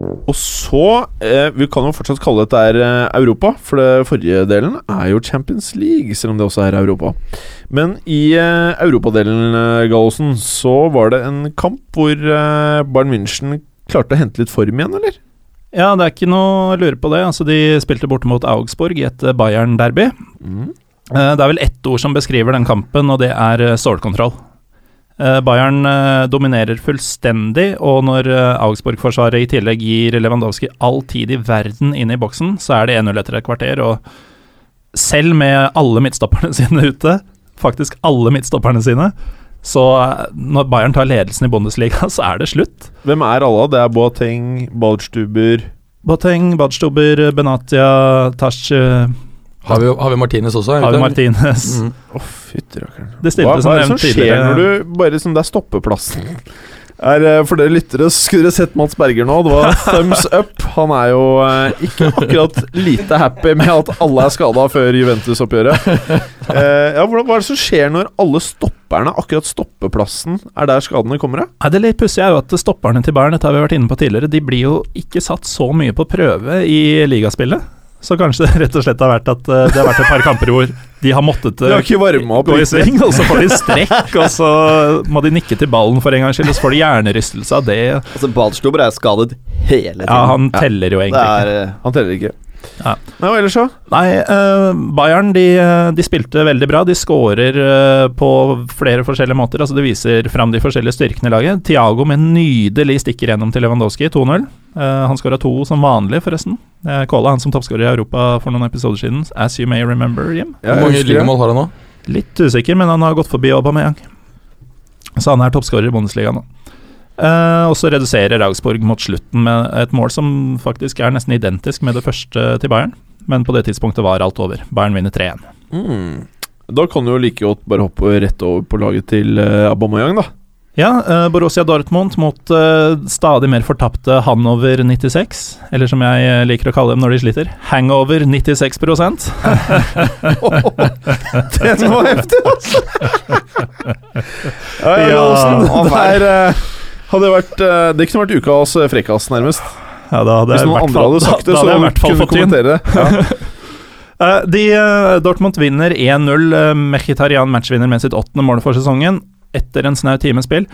Speaker 3: Og så eh, Vi kan jo fortsatt kalle dette her eh, Europa, for det forrige delen er jo Champions League, selv om det også er Europa. Men i eh, europadelen, eh, Gallosen, så var det en kamp hvor eh, Bayern München klarte å hente litt form igjen, eller?
Speaker 4: Ja, det er ikke noe å lure på det. Altså, de spilte borte mot Augsburg i et eh, Bayern-derby.
Speaker 3: Mm.
Speaker 4: Eh, Det er vel ett ord som beskriver den kampen, og det er eh, stålkontroll. Eh, Bayern eh, dominerer fullstendig, og når eh, Augsburg-forsvaret i tillegg gir Lewandowski all tid i verden inn i boksen, så er det 1-0 etter et kvarter, og selv med alle midtstopperne <laughs> sine ute, faktisk alle midtstopperne sine, så eh, når Bayern tar ledelsen i Bundesliga, <laughs> så er det slutt.
Speaker 3: Hvem er alle? Det er Boateng, Balchtuber
Speaker 4: Boateng, Badstuber, Benatia, Tash, eh,
Speaker 6: Har vi, har vi Martinez også? er
Speaker 4: Javi
Speaker 6: vi ikke det?
Speaker 4: Martinez
Speaker 6: Mm.
Speaker 3: Å, fytti rakkeren.
Speaker 4: Det
Speaker 3: Hva,
Speaker 4: stilte
Speaker 3: hva
Speaker 4: som
Speaker 3: er det som
Speaker 4: nevnt
Speaker 3: skjer
Speaker 4: tidligere.
Speaker 3: når du bare som det er stoppeplassen? Er, eh, for dere lyttere så skulle dere sett Mats Berger nå. Det var thumbs up. Han er jo eh, ikke akkurat lite happy med at alle er skada før Juventus-oppgjøret. Eh, ja, hvordan- Hva er det som skjer når alle stopperne, akkurat stoppeplassen, er der skadene kommer av?
Speaker 4: Nei, det litt pussige er jo at stopperne til Bayern, dette har vi vært inne på tidligere, de blir jo ikke satt så mye på prøve i ligaspillet. Så kanskje det rett og slett har vært at eh, det har vært et par kamper hvor de har måttet eh,
Speaker 3: De har ikke varma opp.
Speaker 4: gå i
Speaker 3: riktig.
Speaker 4: sving, og så får de strekk, og så må de nikke til ballen for en gangs skyld, og så får de hjernerystelse av det.
Speaker 5: Altså, Badstuber er skadet hele tiden.
Speaker 4: Ja, han teller jo
Speaker 5: det
Speaker 4: egentlig ikke.
Speaker 5: er eh,
Speaker 3: Han teller ikke.
Speaker 4: Ja.
Speaker 3: Nei, og ellers så?
Speaker 4: Nei, eh, Bayern de, eh, de spilte veldig bra. De skårer eh, på flere forskjellige måter. Altså Det viser fram de forskjellige styrkene i laget. Thiago med en nydelig stikker gjennom til Lewandowski, 2-0. Eh, han skåra to som vanlig, forresten. Uh, Kåla, han som toppskårer i Europa for noen episoder siden, as you may remember, Jim.
Speaker 3: Ja,
Speaker 6: Hvor mange
Speaker 3: jeg husker det.
Speaker 6: ligamål har han nå?
Speaker 4: Litt usikker, men han har gått forbi Aubameyang. Så han er toppskårer i Bundesliga nå. Eh, og så reduserer Augsburg mot slutten med et mål som faktisk er nesten identisk med det første til Bayern, men på det tidspunktet var alt over. Bayern vinner 3-1.
Speaker 3: Mm. Da kan du jo like godt bare hoppe rett over på laget til eh, Aubameyang, da.
Speaker 4: Ja, eh, Borussia Dortmund mot eh, stadig mer fortapte Hanover 96, eller som jeg eh, liker å kalle dem når de sliter, Hangover 96
Speaker 3: <laughs> Den var heftig, altså! ja, ja, Olsen,
Speaker 5: Ja,
Speaker 3: der eh, hadde det vært eh, Det kunne vært ukas eh, frekkas, nærmest.
Speaker 4: <laughs> Ja, da hadde
Speaker 3: Hvis
Speaker 4: jeg i
Speaker 3: noen
Speaker 4: hvert
Speaker 3: andre
Speaker 4: fall-
Speaker 3: hadde
Speaker 4: da-
Speaker 3: sagt det,
Speaker 4: da hadde
Speaker 3: så
Speaker 4: jeg i hvert fall
Speaker 3: kunne du
Speaker 4: fått tyn.
Speaker 3: kommentere det. Ja.
Speaker 4: Eh, de, eh, Dortmund vinner 1-0. Eh, Mkhitarian matchvinner med sitt åttende mål for sesongen. Etter en snau times spill.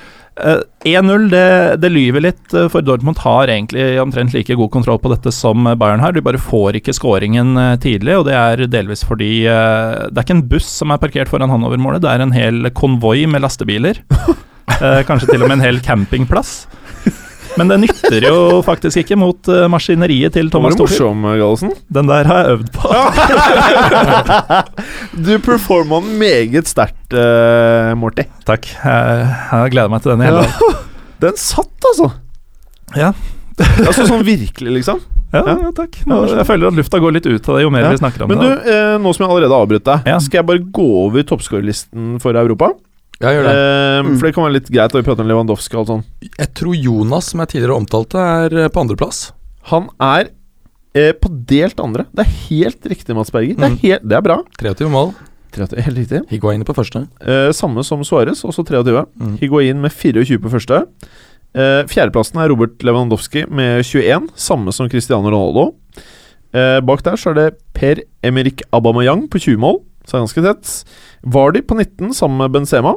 Speaker 4: Eh, 1-0, det, det lyver litt, eh, for Dortmund har egentlig omtrent like god kontroll på dette som eh, Bayern har. De bare får ikke skåringen eh, tidlig, og det er delvis fordi eh, det er ikke en buss som er parkert foran Hanover-målet, det er en hel konvoi
Speaker 3: <laughs>
Speaker 4: med lastebiler. Eh, kanskje til og med en hel campingplass. Men det nytter jo faktisk ikke mot eh, maskineriet til
Speaker 3: Det
Speaker 4: Thomas
Speaker 3: var
Speaker 4: Thorsrud.
Speaker 3: morsom, eh,
Speaker 4: <laughs>
Speaker 3: Gallosen.
Speaker 4: Den der har jeg øvd på.
Speaker 3: Du performa den meget sterkt, eh, Morty.
Speaker 4: Takk. Jeg, jeg gleder meg til den i hele dag.
Speaker 3: <laughs> Den satt, altså.
Speaker 4: Ja.
Speaker 3: altså sånn virkelig, liksom.
Speaker 4: Ja, ja, takk. Nå, jeg føler at lufta går litt ut av det jo mer
Speaker 3: Ja.
Speaker 4: vi snakker om
Speaker 3: Men du,
Speaker 4: det.
Speaker 3: eh, nå som jeg allerede har avbrutt deg,
Speaker 4: Ja.
Speaker 3: skal jeg bare gå over toppskårerlisten for Europa?
Speaker 6: Ja, gjør det.
Speaker 3: Eh, for det kan være litt greit å prate om Lewandowski og alt sånn.
Speaker 6: Jeg tror Jonas, som jeg tidligere omtalte, er eh, på andreplass.
Speaker 3: Han er eh, på delt andre. Det er helt riktig, Mads Berger. Det, er
Speaker 6: Mm.
Speaker 3: helt, det er bra.
Speaker 6: 23 mål.
Speaker 3: 30, <laughs> helt riktig.
Speaker 6: Higuain på første.
Speaker 3: Eh, samme som Suárez, også 23.
Speaker 6: Mm.
Speaker 3: Higuain med 24 på første. Eh, fjerdeplassen er Robert Lewandowski med 21, samme som Cristiano Ronaldo. Eh, bak der så er det Per Emerick Abamayang på 20 mål, så er det ganske tett. Vardi på 19, sammen med Benzema.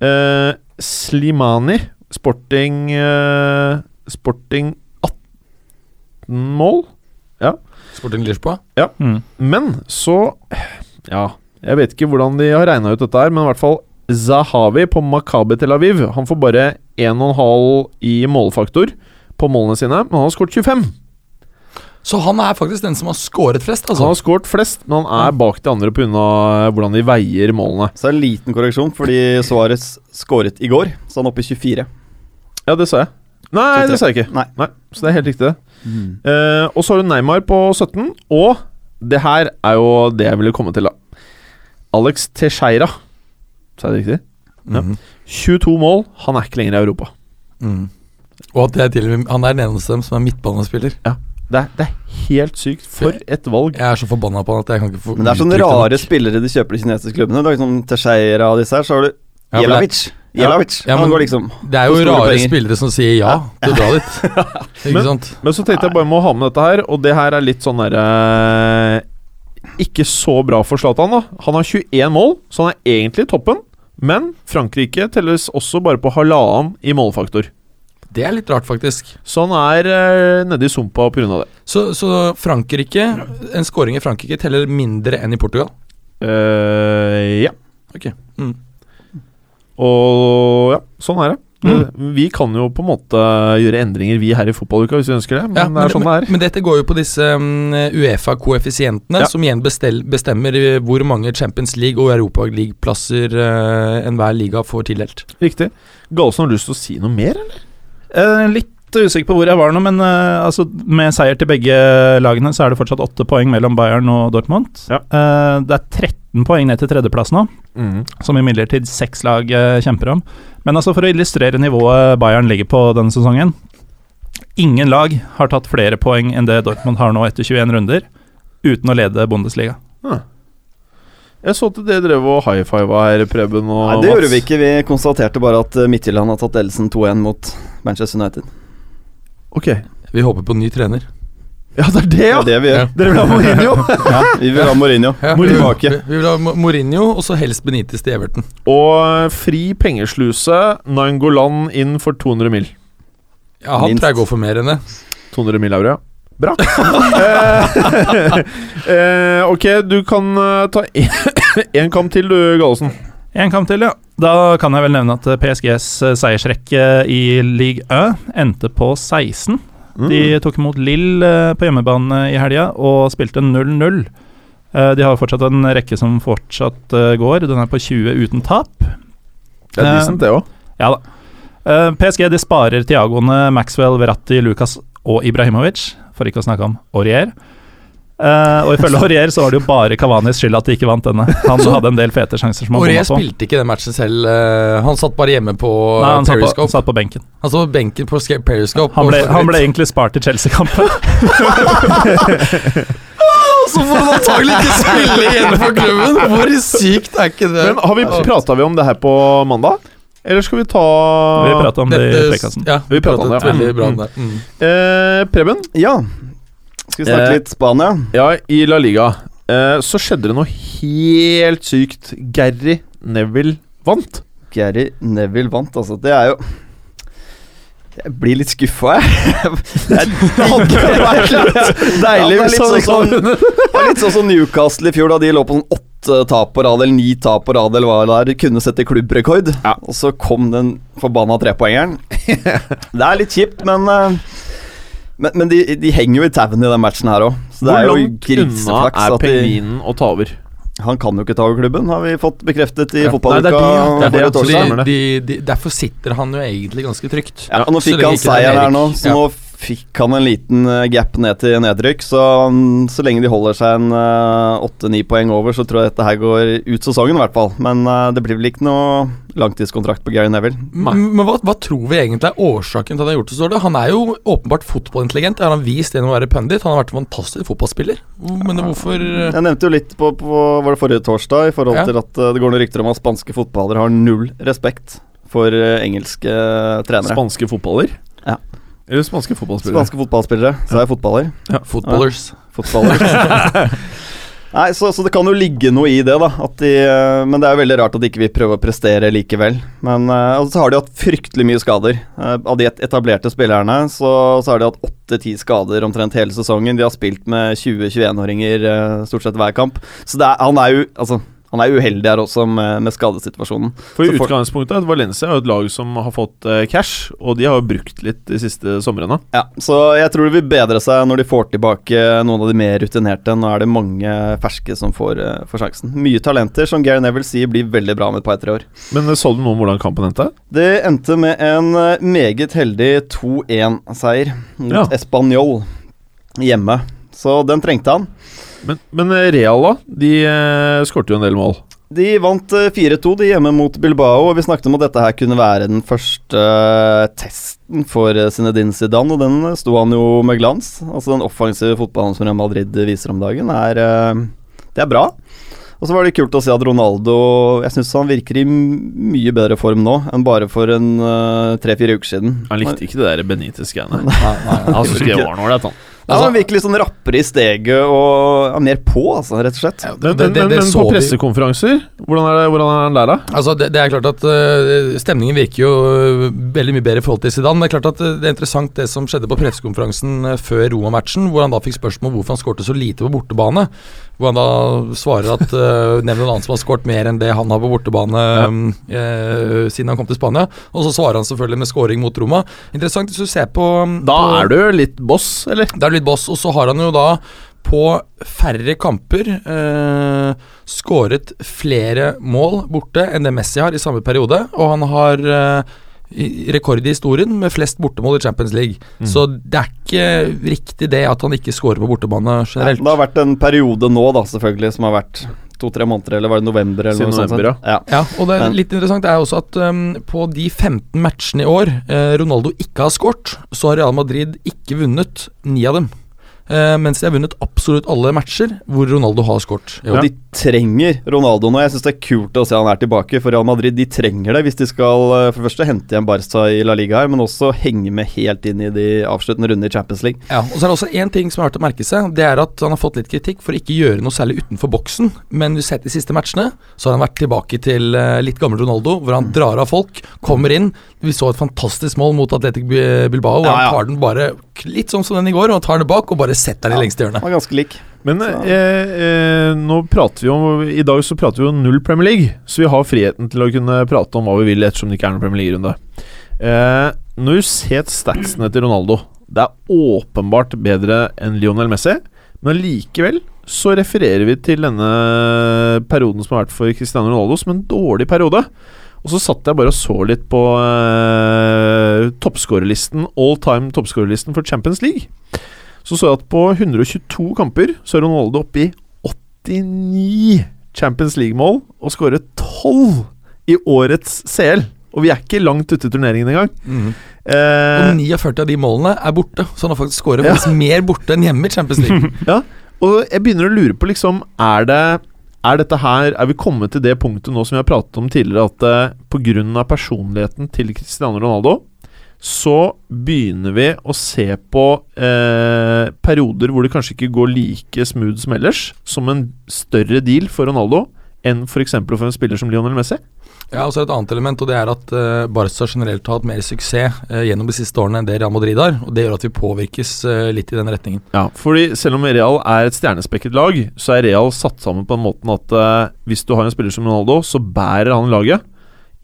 Speaker 3: Eh, Slimani, sporting eh, Sporting 18 mål.
Speaker 6: Sporting Lisboa.
Speaker 4: Mm.
Speaker 3: Men så Ja, jeg vet ikke hvordan de har regna ut dette her, men i hvert fall Zahavi på Makabe Tel Aviv Han får bare 1,5 i målfaktor på målene sine, men han har skåret 25.
Speaker 6: Så han er faktisk den som har skåret flest,
Speaker 3: Han
Speaker 6: altså.
Speaker 3: har skåret flest, men han er bak de andre pga. hvordan de veier målene.
Speaker 5: Så er det en liten korreksjon, fordi Suárez skåret i går, så han er oppe i 24.
Speaker 3: Ja, det sa jeg. Nei, det sa jeg ikke.
Speaker 5: Nei.
Speaker 3: Så det er helt riktig. Eh, og så har du Neymar på 17, og det her er jo det jeg ville komme til, da. Alex Teixeira, sa jeg det riktig? Ja.
Speaker 6: Mhm.
Speaker 3: 22 mål, han er ikke lenger i Europa.
Speaker 6: Mm. Og at det er til og med, han er den eneste av dem som er midtbanespiller.
Speaker 3: Det er, det er helt sykt. For et valg.
Speaker 6: Jeg er så forbanna på han at jeg kan ikke få
Speaker 5: Men det er sånne
Speaker 6: uttrykt det nok.
Speaker 5: rare spillere de kjøper de kinesiske klubbene. Det er liksom Teixeira og disse her, så har du
Speaker 6: Ja, men det,
Speaker 5: Jelavic. Jelavic.
Speaker 6: Ja, men-
Speaker 5: han går liksom
Speaker 6: er- det er jo
Speaker 5: For store
Speaker 6: rare
Speaker 5: penger.
Speaker 6: spillere som sier ja til å dra dit.
Speaker 5: <laughs>
Speaker 6: Ikke
Speaker 3: Men-
Speaker 6: sant?
Speaker 3: Men så tenkte jeg bare må ha med dette her, og det her er litt sånn derre Ikke så bra for Zlatan, da. Han har 21 mål, så han er egentlig i toppen. Men Frankrike telles også bare på halvannen i målfaktor.
Speaker 6: Det er litt rart, faktisk.
Speaker 3: Så han Sånn er eh, nede i sumpa pga. det.
Speaker 6: Så, så Frankrike En scoring i Frankrike teller mindre enn i Portugal.
Speaker 3: Eh, ja.
Speaker 6: Ok. Mm.
Speaker 3: Og ja, sånn er det.
Speaker 6: Mm.
Speaker 4: Mm.
Speaker 3: Vi kan jo på en måte gjøre endringer, vi her i fotballuka, hvis vi ønsker det. Men
Speaker 6: Ja,
Speaker 3: det er sånn det er.
Speaker 6: men dette går jo på disse mm, Uefa-koeffisientene,
Speaker 3: Ja.
Speaker 6: som igjen bestel, bestemmer eh, hvor mange Champions League og Europa League-plasser eh, enhver liga får tildelt.
Speaker 3: Riktig. Galesen, har du lyst til å si noe mer? eller?
Speaker 4: Eh, litt usikker på hvor jeg var nå, men eh, altså, med seier til begge lagene så er det fortsatt åtte poeng mellom Bayern og Dortmund.
Speaker 3: Ja.
Speaker 4: Eh, det er 13 poeng ned til tredjeplass nå,
Speaker 5: Mm.
Speaker 4: som imidlertid seks lag eh, kjemper om. Men altså, for å illustrere nivået Bayern ligger på denne sesongen Ingen lag har tatt flere poeng enn det Dortmund har nå etter 21 runder, uten å lede Bundesliga.
Speaker 3: Jeg så at dere drev og high fiva her, Preben og
Speaker 5: Nei, det
Speaker 3: Mats.
Speaker 5: gjorde vi ikke. Vi konstaterte bare at eh, Midtjylland har tatt ledelsen 2-1 mot Manchester United.
Speaker 3: Ok.
Speaker 6: Vi håper på ny trener.
Speaker 3: Ja, det er det, ja!
Speaker 5: Det er det vi gjør.
Speaker 6: Ja.
Speaker 3: Dere vil ha Mourinho! <laughs>
Speaker 5: Vi vil ha Mourinho
Speaker 6: vi,
Speaker 5: tilbake.
Speaker 6: vi vil ha Mo- Mourinho, og så helst Benitez til Everton.
Speaker 3: og eh, fri pengesluse, Nangolan inn for 200 mil.
Speaker 6: Ja, han
Speaker 5: Minst.
Speaker 6: tror jeg går for mer enn det.
Speaker 3: 200 mil euro, ja. Bra. <laughs> Eh, eh, ok, du kan eh, ta én kamp til, du, Gallosen.
Speaker 4: En kamp til, ja. Da kan jeg vel nevne at eh, PSGs eh, seiersrekke i league Ø endte på 16.
Speaker 3: Mm.
Speaker 6: Mm.
Speaker 4: De tok imot Lill på hjemmebane eh, i helga og spilte 0-0. Eh, De har fortsatt en rekke som fortsatt eh, går. Den er på 20 uten tap.
Speaker 3: Det er decent, det òg.
Speaker 4: Ja da. Eh, PSG de sparer Tiagoene, Maxwell, Verratti, Lucas og Ibrahimovic, for ikke å snakke om Aurier. Eh, og
Speaker 6: <laughs>
Speaker 4: ifølge Aurier så var det jo bare Kavanis skyld at de ikke vant denne. Han hadde en del fete sjanser som han
Speaker 6: Aurier
Speaker 4: bomma på.
Speaker 6: spilte ikke den matchen selv. eh, han satt bare hjemme på
Speaker 4: Nei, han satt på,
Speaker 6: Periscope.
Speaker 4: satt på benken.
Speaker 6: Han satt på benken på Sca- Periscope.
Speaker 4: Han
Speaker 6: og-
Speaker 4: ble, han ble egentlig spart til <laughs> Chelsea-kampen.
Speaker 6: Og så får han antagelig ikke spille igjen for klubben! Hvor sykt er ikke det?
Speaker 3: Men har vi, prata vi om det her på mandag? Eller skal vi ta
Speaker 4: Vi prata om det i frekkasen.
Speaker 6: ja, vi
Speaker 3: Vi pratet om
Speaker 6: pratet
Speaker 3: det, ja.
Speaker 6: veldig bra om
Speaker 3: Mm.
Speaker 6: det. Mm.
Speaker 3: eh, Preben?
Speaker 5: Ja. Skal vi
Speaker 3: Eh.
Speaker 5: snakke litt Spania?
Speaker 3: Ja, i La Liga eh, så skjedde det noe helt sykt. Gary Neville
Speaker 5: <laughs>
Speaker 3: vant.
Speaker 5: Gary Neville vant, altså. Det er jo Jeg blir litt skuffa, jeg. <laughs> Det er deilig.
Speaker 3: <laughs> Ja,
Speaker 5: Litt
Speaker 3: det er
Speaker 5: sånn som
Speaker 3: sånn-
Speaker 5: Det er litt sånn som Newcastle i fjor, da de lå på sånn åtte tap på rad, eller ni tap på rad, eller hva det er. Kunne sette klubbrekord.
Speaker 3: Ja.
Speaker 5: Og så kom den forbanna
Speaker 3: <laughs>
Speaker 5: trepoengeren. det er litt kjipt, men eh, Men, men de, de henger jo i tauene i den matchen her òg, så det
Speaker 3: Hvor
Speaker 5: er jo
Speaker 3: langt unna
Speaker 5: griseflaks
Speaker 3: er
Speaker 5: at de
Speaker 3: pengvinen å ta over?
Speaker 5: Han kan jo ikke ta over klubben, har vi fått bekreftet i
Speaker 3: Ja. Nei,
Speaker 5: fotballuka.
Speaker 3: det er det, ja. Det er det, ja.
Speaker 5: forrige
Speaker 3: Så
Speaker 5: torsdag.
Speaker 3: stemmer
Speaker 6: De,
Speaker 3: det.
Speaker 6: de, de, derfor sitter han jo egentlig ganske trygt.
Speaker 5: Ja, og nå
Speaker 6: Så
Speaker 5: fikk
Speaker 6: lenge
Speaker 5: han
Speaker 6: ikke det er
Speaker 5: seieren her nå,
Speaker 6: Erik.
Speaker 5: så
Speaker 6: Ja.
Speaker 5: nå fikk han en liten eh, gap ned til nedrykk. Så mm, så lenge de holder seg en eh, åtte-ni poeng over, så tror jeg dette her går ut sesongen i hvert fall. Men eh, det blir vel ikke noe langtidskontrakt på Gary Neville.
Speaker 6: M- Men hva, hva tror vi egentlig er årsaken til at han har gjort det så dårlig? Han er jo åpenbart fotballintelligent, det har han vist gjennom å være pundit. Han har vært en fantastisk fotballspiller. Men hvorfor eh,
Speaker 5: Jeg nevnte jo litt på, på var det forrige torsdag i forhold
Speaker 6: Ja.
Speaker 5: til at eh, det går noen rykter om at spanske fotballere har null respekt for eh, engelske trenere.
Speaker 3: Spanske fotballer?
Speaker 5: Ja.
Speaker 3: Eller spanske fotballspillere?
Speaker 5: Spanske fotballspillere, så er jeg fotballer.
Speaker 6: Footballers.
Speaker 5: Fotballer. Nei, så, så det kan jo ligge noe i det, da. At de, eh, men det er jo veldig rart at de ikke vil prøve å prestere likevel. Men eh, altså, så har de hatt fryktelig mye skader. Eh, av de et- etablerte spillerne så, så har de hatt åtte-ti skader omtrent hele sesongen. De har spilt med 20-21-åringer eh, stort sett hver kamp. Så det er, han er jo altså, han er uheldig her også med, med skadesituasjonen.
Speaker 3: For i
Speaker 5: Så folk-
Speaker 3: utgangspunktet er Valencia er jo et lag som har fått eh, cash, og de har jo brukt litt de siste somrene.
Speaker 5: Ja, så jeg tror det vil bedre seg når de får tilbake noen av de mer rutinerte. Nå er det mange ferske som får, eh, får sjansen. Mye talenter, som Gary Neville sier blir veldig bra om et par-tre år.
Speaker 3: Men eh, så du noe om hvordan kampen endte?
Speaker 5: Det endte med en eh, meget heldig 2-1-seier mot
Speaker 3: Ja.
Speaker 5: Español hjemme. Så den trengte han.
Speaker 3: Men, men eh, Real, da? De eh, skårte jo en del mål.
Speaker 5: De vant eh, 4-2 de hjemme mot Bilbao, og vi snakket om at dette her kunne være den første eh, testen for eh, Zinedine Zidane, og den eh, sto han jo med glans. Altså Den offensive fotballen som Real Madrid viser om dagen, er, eh, det er bra. Og så var det kult å se at Ronaldo Jeg syns han virker i m- mye bedre form nå enn bare for en tre-fire uker siden.
Speaker 3: Han likte ikke det der Benitez-greiene.
Speaker 6: Nei, nei, nei.
Speaker 3: <laughs> Han syntes ikke det var noe ålreit, han.
Speaker 5: Ja,
Speaker 6: Altså-
Speaker 5: han virker litt sånn rappere i steget og ja, mer på, altså, rett og slett.
Speaker 6: Ja,
Speaker 3: Men,
Speaker 6: det, det,
Speaker 3: men,
Speaker 6: det
Speaker 3: men
Speaker 6: så
Speaker 3: på
Speaker 6: vi.
Speaker 3: pressekonferanser, hvordan er, det, hvordan er han der, da?
Speaker 6: Altså, det, det er klart at øh, Stemningen virker jo øh, veldig mye bedre i forhold til Zidane. Det er klart at øh, det er interessant det som skjedde på pressekonferansen øh, før Roma-matchen, hvor han da fikk spørsmål om hvorfor han skårte så lite på bortebane. Hvor han da svarer at øh, nevn en annen som har skåret mer enn det han har på bortebane øh, øh, siden han kom til Spania. Og så svarer han selvfølgelig med scoring mot Roma. Interessant hvis du ser på mm,
Speaker 3: Da
Speaker 6: på,
Speaker 3: er du litt boss, eller?
Speaker 6: det er litt boss, og så har han jo da på færre kamper eh, skåret flere mål borte enn det Messi har i samme periode, og han har eh, i- rekord i historien med flest bortemål i Champions League.
Speaker 5: Mm.
Speaker 6: Så det er ikke riktig det at han ikke skårer på bortebane
Speaker 5: Ja,
Speaker 6: generelt.
Speaker 5: Det har vært en periode nå, da, selvfølgelig, som har vært to-tre måneder, eller var det november? Eller
Speaker 3: Siden
Speaker 5: noe sånt.
Speaker 3: november,
Speaker 5: ja.
Speaker 6: Ja, og det er
Speaker 5: Men-
Speaker 6: litt interessant er også at um, på de 15 matchene i år eh, Ronaldo ikke har skåret, så har Real Madrid ikke vunnet ni av dem. Eh, mens de har vunnet absolutt alle matcher hvor Ronaldo har skåret.
Speaker 5: Og de trenger Ronaldo nå. Jeg syns det er kult å se han er tilbake for Real Madrid. De trenger det hvis de skal eh, for det første hente igjen Barca i La Liga her, men også henge med helt inn i de avsluttende rundene i Champions League.
Speaker 6: Ja, og så er det også én ting som er verdt å merke seg. Det er at han har fått litt kritikk for ikke å gjøre noe særlig utenfor boksen. Men du har sett de siste matchene, så har han vært tilbake til eh, litt gammel Ronaldo,
Speaker 5: Mm.
Speaker 6: hvor han drar av folk, kommer inn. Vi så et fantastisk mål mot Atletic Bi- Bilbao, hvor
Speaker 5: Ja, ja.
Speaker 6: han tar den bare k- litt sånn som den i går, og han tar den bak og bare setter den i lengste hjørne.
Speaker 5: Han er ganske lik.
Speaker 3: Men eh, eh, nå prater vi om I dag så prater vi om null Premier League, så vi har friheten til å kunne prate om hva vi vil ettersom det ikke er noen Premier League-runde. Eh, når du ser statsene til Ronaldo Det er åpenbart bedre enn Lionel Messi, men likevel så refererer vi til denne perioden som har vært for Cristiano Ronaldo som en dårlig periode. Og så satt jeg bare og så litt på eh, toppskårerlisten, all time toppskårerlisten for Champions League. Så så jeg at på 122 kamper så er Ronaldo oppe i 89 Champions League-mål og skårer 12 i årets CL. Og vi er ikke langt ute i turneringen engang.
Speaker 5: Mm.
Speaker 6: Og
Speaker 3: Eh,
Speaker 6: 49 av de målene er borte, så han har faktisk skåret faktisk mer borte enn hjemme i
Speaker 5: <laughs>
Speaker 6: Champions League.
Speaker 3: og jeg begynner å lure på, liksom Er det er dette her, er vi kommet til det punktet nå som vi har pratet om tidligere, at eh, på grunn av personligheten til Cristiano Ronaldo, så begynner vi å se på eh, perioder hvor det kanskje ikke går like smooth som ellers, som en større deal for Ronaldo enn f.eks. for en spiller som Lionel Messi?
Speaker 6: Ja, og så er det et annet element, og det er at eh, Barca generelt har hatt mer suksess eh, gjennom de siste årene enn det Real Madrid har, og det gjør at vi påvirkes eh, litt i den retningen.
Speaker 3: Ja, fordi selv om Real er et stjernespekket lag, så er Real satt sammen på den måten at eh, hvis du har en spiller som Ronaldo, så bærer han laget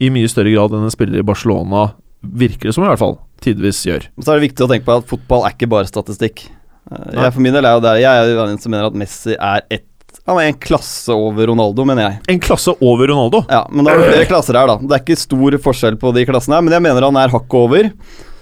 Speaker 3: i mye større grad enn en spiller i Barcelona virker det som, i hvert fall. Tidvis gjør.
Speaker 5: Men Så er det viktig å tenke på at fotball er ikke bare statistikk. Eh,
Speaker 3: Nei.
Speaker 5: Jeg for min del er jo der Jeg er jo den som mener at Messi er et Han er en klasse over Ronaldo, mener jeg.
Speaker 3: En klasse over Ronaldo.
Speaker 5: Ja, men da er det flere klasser her, da. Det er ikke stor forskjell på de klassene her, men jeg mener han er hakket over.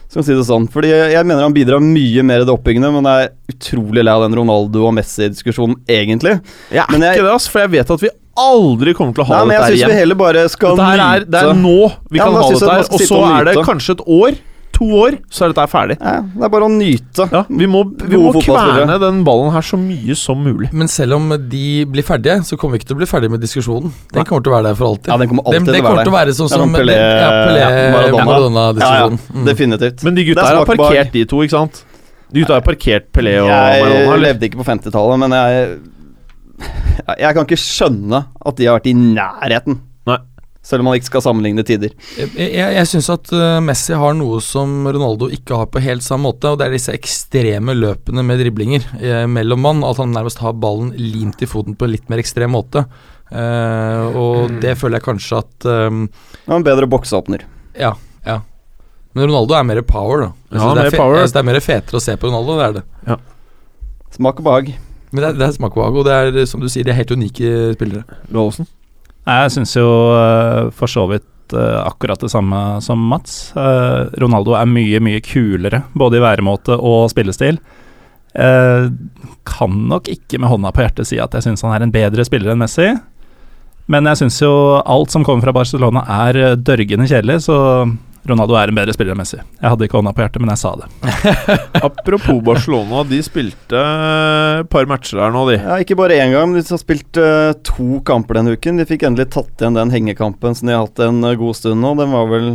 Speaker 5: Skal vi si det sånn, fordi jeg mener han bidrar mye mer i det oppbyggende, men jeg er utrolig lei av den Ronaldo og Messi-diskusjonen, egentlig.
Speaker 3: Jeg er
Speaker 5: Men jeg-
Speaker 3: ikke det, ass, for jeg vet at vi aldri kommer til å ha
Speaker 5: Nei, men
Speaker 3: dette
Speaker 5: jeg
Speaker 3: her
Speaker 5: syns vi
Speaker 3: igjen.
Speaker 5: heller bare skal
Speaker 3: Dette her er, det er nå vi
Speaker 5: Ja,
Speaker 3: kan
Speaker 5: men da
Speaker 3: ha
Speaker 5: synes jeg
Speaker 3: dette
Speaker 5: man
Speaker 3: her,
Speaker 5: skal
Speaker 3: og
Speaker 5: sitte
Speaker 3: så
Speaker 5: og
Speaker 3: er det
Speaker 5: nyte.
Speaker 3: kanskje et år, to år, så er dette her ferdig.
Speaker 5: Ja, det er bare å nyte.
Speaker 3: Ja, vi må, vi
Speaker 5: Gode
Speaker 3: må
Speaker 5: fotballspillere.
Speaker 3: kverne den ballen her så mye som mulig.
Speaker 6: Men selv om de blir ferdige, så kommer vi ikke til å bli ferdige med diskusjonen. Den kommer til å være der for alltid.
Speaker 5: Ja, den kommer alltid
Speaker 6: Den-
Speaker 5: til å
Speaker 6: den
Speaker 5: være
Speaker 6: kommer
Speaker 5: der.
Speaker 6: til å være sånn
Speaker 5: Ja,
Speaker 6: som
Speaker 5: men Pelé-
Speaker 6: den- ja,
Speaker 5: ja,
Speaker 6: Pelé
Speaker 5: Maradona.
Speaker 6: Maradona-diskusjonen.
Speaker 5: Ja, ja, definitivt.
Speaker 3: Mm. Men de gutta
Speaker 5: Det er
Speaker 3: her har
Speaker 5: smak bak.
Speaker 3: parkert, de to, ikke sant? De gutta har parkert Pelé og
Speaker 5: Jeg
Speaker 3: Maradona. eller?
Speaker 5: levde ikke på 50-tallet, men jeg Jeg kan ikke skjønne at de har vært i nærheten.
Speaker 3: Nei.
Speaker 5: Selv om man ikke skal sammenligne tider.
Speaker 6: Jeg, jeg, jeg syns at eh, Messi har noe som Ronaldo ikke har på helt samme måte, og det er disse ekstreme løpene med driblinger eh, mellom mann. At han nærmest har ballen limt i foten på en litt mer ekstrem måte. Eh, og
Speaker 5: Mm.
Speaker 6: det føler jeg kanskje at eh,
Speaker 5: Han er en bedre bokseåpner.
Speaker 6: Ja, ja. Men Ronaldo er mer power, da.
Speaker 3: Ja,
Speaker 6: Jeg synes det,
Speaker 3: mer
Speaker 6: er fe-
Speaker 3: power.
Speaker 6: jeg synes det er mer fetere å se på Ronaldo, det er det.
Speaker 5: Smak og behag.
Speaker 6: Men det er, det er smak og behag, og det er som du sier, de er helt unike spillere.
Speaker 3: Gallosen.
Speaker 4: Nei, Jeg syns jo eh, for så vidt eh, akkurat det samme som Mats. Eh, Ronaldo er mye, mye kulere, både i væremåte og spillestil. Eh, kan nok ikke med hånda på hjertet si at jeg syns han er en bedre spiller enn Messi. Men jeg syns jo alt som kommer fra Barcelona er eh, dørgende kjedelig, så Ronaldo er en bedre spiller enn Messi. Jeg hadde ikke hånda på hjertet, men jeg sa det.
Speaker 3: <laughs> Apropos Barcelona, de spilte et par matcher her nå, de.
Speaker 5: Ja, ikke bare én gang, men de har spilt eh, to kamper denne uken. De fikk endelig tatt igjen den hengekampen som de har hatt en eh, god stund nå. Den var vel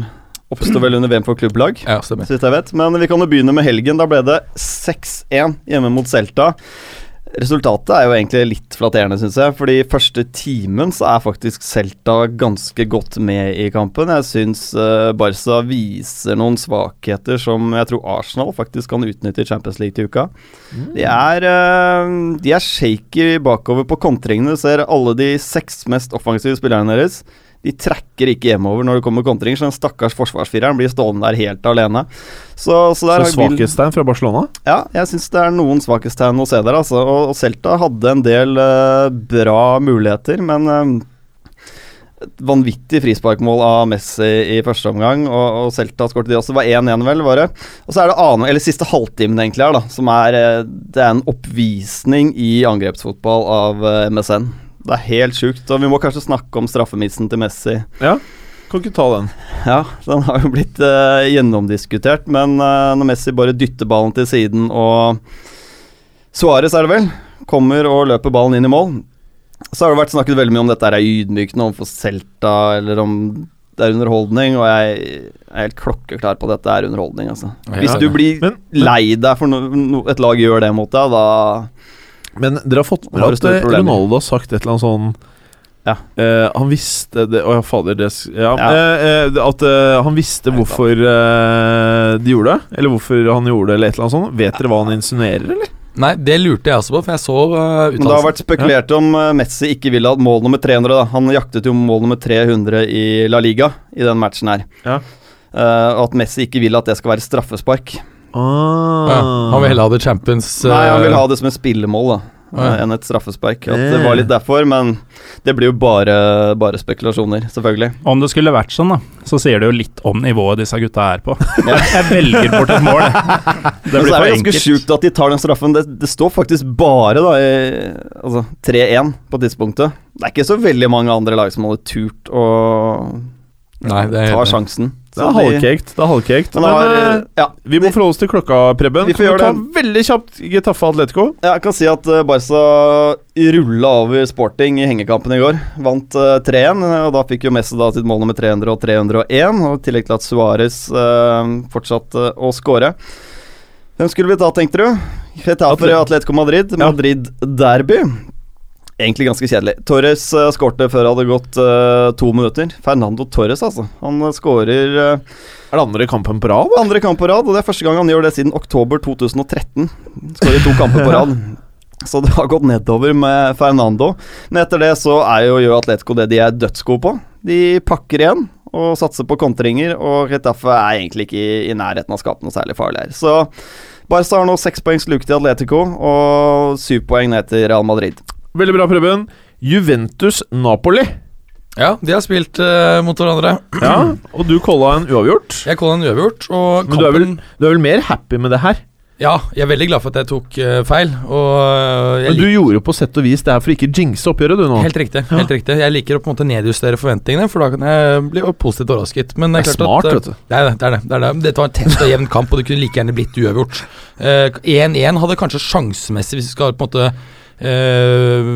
Speaker 5: oppstod vel under VM for klubblag.
Speaker 6: Ja, stemmer.
Speaker 5: så vidt jeg vet. Men vi kan jo begynne med helgen. Da ble det 6-1 hjemme mot Celta. Resultatet er jo egentlig litt flatterende, syns jeg. Fordi første timen så er faktisk Celta ganske godt med i kampen. Jeg syns eh, Barca viser noen svakheter som jeg tror Arsenal faktisk kan utnytte i Champions League til uka. De er, eh, de er shaky bakover på kontringene. Du ser alle de seks mest offensive spillerne deres. De tracker ikke hjemover når det kommer kontringer, så den stakkars forsvarsfireren blir stående der helt alene. Så, så
Speaker 3: Så
Speaker 5: der har Bill-
Speaker 3: svakhetstegn fra Barcelona.
Speaker 5: ja, jeg syns det er noen svakhetstegn å se der, altså. Og og Celta hadde en del eh, bra muligheter, men eh, et vanvittig frisparkmål av Messi i første omgang, og, og Celta skåret de også. Det var 1-1, vel, var det. Og så er det annen, eller siste halvtimen, egentlig, her, da, som er eh, Det er en oppvisning i angrepsfotball av eh, MSN. Det er helt sjukt, og vi må kanskje snakke om straffemissen til Messi.
Speaker 3: Kan ikke ta den.
Speaker 5: Ja, den har jo blitt eh, gjennomdiskutert, men eh, når Messi bare dytter ballen til siden og Suárez, er det vel, kommer og løper ballen inn i mål, så har det vært snakket veldig mye om dette her er ydmykende overfor Celta, eller om det er underholdning, og jeg er helt klokkeklar på at dette er underholdning, altså.
Speaker 6: Ja,
Speaker 5: Hvis du
Speaker 6: ja.
Speaker 5: blir
Speaker 3: Men-
Speaker 5: lei deg for no, no, et lag gjør det mot deg, da
Speaker 3: Men dere har fått med
Speaker 5: Har
Speaker 3: dere
Speaker 5: du
Speaker 3: at
Speaker 5: store
Speaker 3: eh,
Speaker 5: problemer?
Speaker 3: Ronaldo har sagt et eller annet sånn
Speaker 5: Ja.
Speaker 3: eh, han visste det Å ja, fader. Det, s- ja,
Speaker 5: Ja.
Speaker 3: eh, eh, at eh, han visste
Speaker 5: Nei,
Speaker 3: hvorfor eh, de gjorde det. Eller hvorfor han gjorde det, eller et eller annet sånt. Vet dere hva han insinuerer, eller?
Speaker 6: Nei, det lurte jeg også på, for jeg så
Speaker 5: Men
Speaker 6: uh,
Speaker 5: det har
Speaker 6: uttalelsen.
Speaker 5: vært spekulert om eh, Messi ikke ville ha mål nummer 300. Da. Han jaktet jo mål nummer 300 i La Liga i den matchen her.
Speaker 3: Ja.
Speaker 5: Eh, og at Messi ikke vil at det skal være straffespark.
Speaker 6: Ja, han
Speaker 3: Ah.
Speaker 6: vil heller ha det Champions uh,
Speaker 5: Nei, han vil ha det som et spillemål da
Speaker 6: Ja.
Speaker 5: eh, enn et straffespark. At det var litt derfor, men det blir jo bare, bare spekulasjoner, selvfølgelig.
Speaker 4: Om det skulle vært sånn, da, så sier det jo litt om nivået disse gutta er
Speaker 5: <laughs>
Speaker 4: på. Jeg velger bort et mål. Det
Speaker 5: Men
Speaker 4: blir
Speaker 5: så
Speaker 4: for
Speaker 5: er det ganske
Speaker 4: enkelt.
Speaker 5: sjukt at de tar den straffen. Det, det står faktisk bare da i, altså 3-1 på tidspunktet. Det er ikke så veldig mange andre lag som hadde turt å
Speaker 6: Nei, det er
Speaker 5: ta
Speaker 6: helt-
Speaker 5: sjansen.
Speaker 3: Det er
Speaker 5: de-
Speaker 3: halvcaked. Det er halvcaked.
Speaker 5: Men det var,
Speaker 3: Men, eh,
Speaker 5: ja,
Speaker 3: Vi må forholde oss til klokka, Preben.
Speaker 5: Vi får
Speaker 3: Kan du
Speaker 5: gjøre
Speaker 3: ta
Speaker 5: det.
Speaker 3: veldig kjapt Getafe Atletico?
Speaker 5: Jeg kan si at eh, Barca rulla over Sporting i hengekampen i går. Vant eh, 3-1, eh, og da fikk jo Messi da sitt mål nummer 300 og 301. Og I tillegg til at Suárez eh, fortsatte å skåre. Hvem skulle vi ta, tenkte du? Getafe
Speaker 3: Atle-
Speaker 5: Atletico Madrid. Madrid-derby. Egentlig ganske kjedelig. Torres uh, skårte før det hadde gått eh, to minutter. Fernando Torres, altså. Han eh, skårer eh,
Speaker 3: Er det andre kampen på rad?
Speaker 5: andre kamp på rad, og det er første gang han gjør det siden oktober 2013. Skårer to kamper på
Speaker 6: <laughs>
Speaker 5: rad. Så det har gått nedover med Fernando. Men etter det så er jo Gjør Atletico det de er dødsgode på. De pakker igjen og satser på kontringer, og Retafe er egentlig ikke i, i nærheten av å skape noe særlig farlig her. Så Barca har nå seks poengs luke til Atletico og syv poeng ned til Real Madrid.
Speaker 3: Veldig bra, Preben. Juventus Napoli.
Speaker 6: Ja, de har spilt eh, mot hverandre.
Speaker 3: Ja, og du calla en uavgjort.
Speaker 6: Jeg kaller den uavgjort, og
Speaker 3: Men du er vel-
Speaker 6: kampen
Speaker 3: Du er vel mer happy med det her?
Speaker 6: Ja, jeg er veldig glad for at jeg tok eh, feil, og eh, jeg
Speaker 3: Men du gjorde på sett og vis det her for ikke å jinxe oppgjøret, du nå.
Speaker 6: Helt riktig. helt riktig Jeg liker å på en måte nedjustere forventningene, for da kan jeg bli positivt overrasket. Men
Speaker 3: det
Speaker 6: det
Speaker 3: er
Speaker 6: er klart
Speaker 3: smart,
Speaker 6: at, uh, eh,
Speaker 3: vet du.
Speaker 6: Det er det. det, er det, det, er det. Dette var en tett og jevn kamp, og det kunne like gjerne blitt uavgjort. Eh, 1-1 hadde kanskje sjansemessig, hvis vi skal på en måte eh,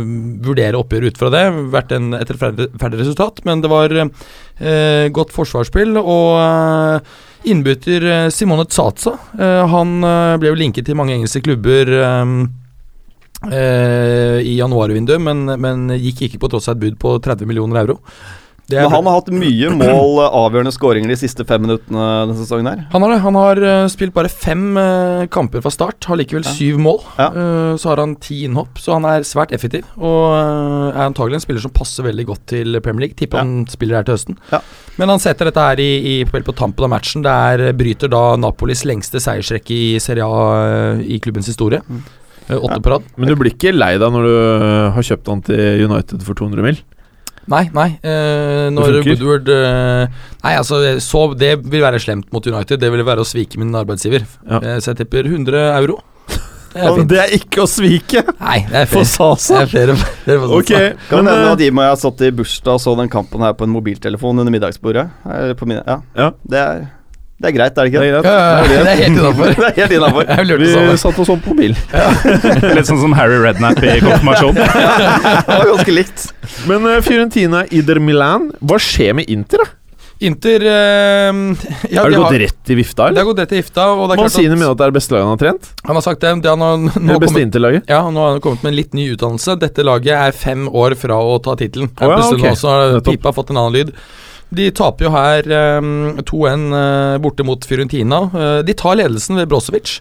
Speaker 6: vurdere oppgjøret ut fra det, vært en, et rettferdig rettferdig resultat, men det var eh, godt forsvarsspill. Og eh, innbytter eh, Simone Tsatsa, eh, han eh, ble jo linket til mange engelske klubber. eh, eh, i januarvinduet, men, men gikk ikke på tross av et bud på 30 millioner euro. Det er
Speaker 5: Men han har hatt mye mål, eh, avgjørende skåringer de siste fem minuttene denne sesongen her.
Speaker 6: Han har det. Han har eh, spilt bare fem eh, kamper fra start, har likevel
Speaker 5: Ja.
Speaker 6: syv mål.
Speaker 5: Ja.
Speaker 6: Eh, så har han ti innhopp, så han er svært effektiv. Og eh, er antagelig en spiller som passer veldig godt til Premier League. Tipper
Speaker 5: Ja.
Speaker 6: han spiller her til høsten.
Speaker 5: Ja.
Speaker 6: Men han setter dette her i, i, vel på tampen av matchen. Det er, bryter da Napolis lengste seiersrekke i Serie A eh, i klubbens historie.
Speaker 5: Mm.
Speaker 6: Eh, Åtte på rad.
Speaker 3: Men du blir ikke lei deg når du eh, har kjøpt han til United for 200 mil?
Speaker 6: Nei, nei. eh, når
Speaker 3: Det funker.
Speaker 6: Woodward eh, Nei, altså, så det vil være slemt mot United. Det vil være å svike min arbeidsgiver.
Speaker 3: Ja.
Speaker 6: Eh, så jeg tipper 100 euro. Det er fint.
Speaker 3: Det er ikke å svike!
Speaker 6: <laughs> Nei, det er
Speaker 3: For
Speaker 6: fair. Det
Speaker 3: Sasa!
Speaker 6: er fair. Det er fair.
Speaker 3: Ok,
Speaker 5: Kan
Speaker 3: men
Speaker 5: nevne
Speaker 3: eh,
Speaker 5: at Jim og jeg satt i bursdag og så den kampen her på en mobiltelefon under middagsbordet. Eller på min, ja.
Speaker 3: Ja.
Speaker 5: Det, er, det er greit, er det
Speaker 3: det er
Speaker 5: ikke?
Speaker 6: Ja,
Speaker 3: greit.
Speaker 6: ja, ja, det er
Speaker 3: <laughs>
Speaker 6: helt innafor.
Speaker 5: <laughs> det er helt innafor.
Speaker 6: Jeg lurte
Speaker 3: Vi
Speaker 6: sånn.
Speaker 3: satte oss om på mobil.
Speaker 6: <laughs>
Speaker 4: <laughs> Litt sånn som Harry Redknapp i konfirmasjon.
Speaker 5: Det var ganske likt.
Speaker 3: Men eh, Fiorentina, Ider Milan, hva skjer med Inter? da?
Speaker 6: Inter eh, ja,
Speaker 3: Har
Speaker 6: de
Speaker 3: det gått
Speaker 6: har-
Speaker 3: rett i vifta,
Speaker 6: Det
Speaker 3: eller?
Speaker 6: har gått rett i gifta. Og det er klart
Speaker 3: Mansini
Speaker 6: at
Speaker 3: mener at det er det beste laget han har trent.
Speaker 6: han har sagt det. det han har nå
Speaker 3: Eller
Speaker 6: kommet-
Speaker 3: beste Inter-laget.
Speaker 6: Ja, og nå har han kommet med en litt ny utdannelse. Dette laget er fem år fra å ta tittelen.
Speaker 3: Å ja,
Speaker 6: Plutselig nå
Speaker 3: ok.
Speaker 6: så har
Speaker 3: Nettopp.
Speaker 6: Pipa fått en annen lyd. De taper jo her ehm, 2-1 eh, borte mot Fiorentina. Eh, de tar ledelsen ved Brosevic.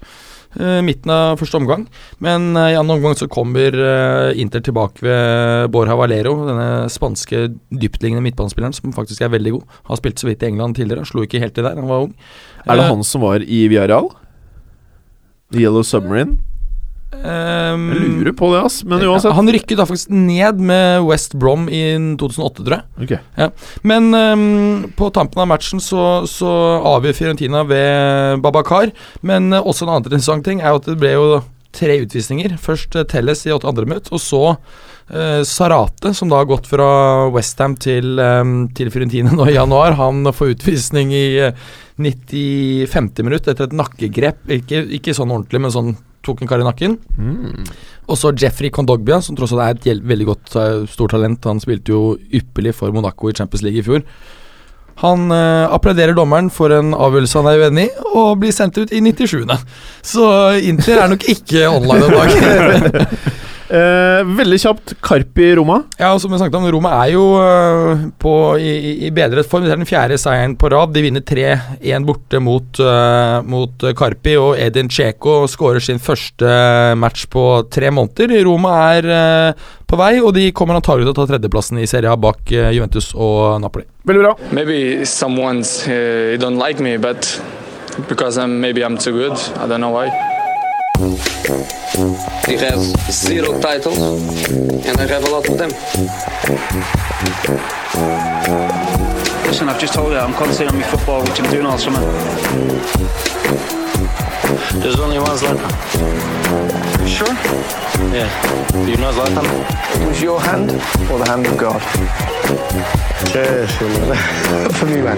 Speaker 6: eh, midten av første omgang, men eh, i andre omgang så kommer eh, Inter tilbake ved Borja Valero, denne spanske dyptliggende midtbanespilleren som faktisk er veldig god. Har spilt så vidt i England tidligere, slo ikke helt til der, han var ung.
Speaker 3: Er det
Speaker 6: Eh,
Speaker 3: han som var i Villarreal? Yellow Submarine?
Speaker 6: ehm,
Speaker 3: Jeg lurer på det, ass. Men
Speaker 6: Ja,
Speaker 3: uansett.
Speaker 6: Han rykket da faktisk ned med West Brom i 2008, tror jeg.
Speaker 3: Ok.
Speaker 6: Men ehm, på tampen av matchen så, så avgjør Fiorentina ved Babakar. Men eh, også en annen interessant ting er jo at det ble jo tre utvisninger. Først eh, Telles i åtte andre minutt, og så eh, Sarate, som da har gått fra Westham til, ehm, til Fiorentina nå i januar. Han får utvisning i uh, 95. minutt etter et nakkegrep. Ikke, ikke sånn ordentlig, men sånn tok en kar i nakken. Og så Jeffrey Kondogbia, som tross alt er et gjel- veldig godt eh, stort talent. Han spilte jo ypperlig for Monaco i Champions League i fjor. Han eh, applauderer dommeren for en avgjørelse han er uenig i, og blir sendt ut i 97. Så Inter er nok ikke online om dagen.
Speaker 3: Eh, veldig kjapt. Karpi Roma.
Speaker 6: ja, og som vi snakket om, Roma er jo eh, på, i, i- i bedret form. Det er den fjerde seieren på rad. De vinner 3-1 borte mot, eh, mot Karpi, og Edin Dzeko skårer sin første øh, match på tre måneder. Roma er eh, på vei, og de kommer antagelig til å ta tredjeplassen i Serie A bak eh, Juventus og Napoli.
Speaker 3: Veldig bra.
Speaker 8: maybe someone's uh, don't like me but because i'm maybe i'm too good i don't know why
Speaker 9: He has zero titles, and I have a lot of them.
Speaker 10: Listen, I've just told you I'm concentrating on my football, which I'm doing all summer. There's only one Zlatan. Sure? Yeah. Do you know Zlatan? It was your hand or the hand of God? Cheers. <laughs> For me, man.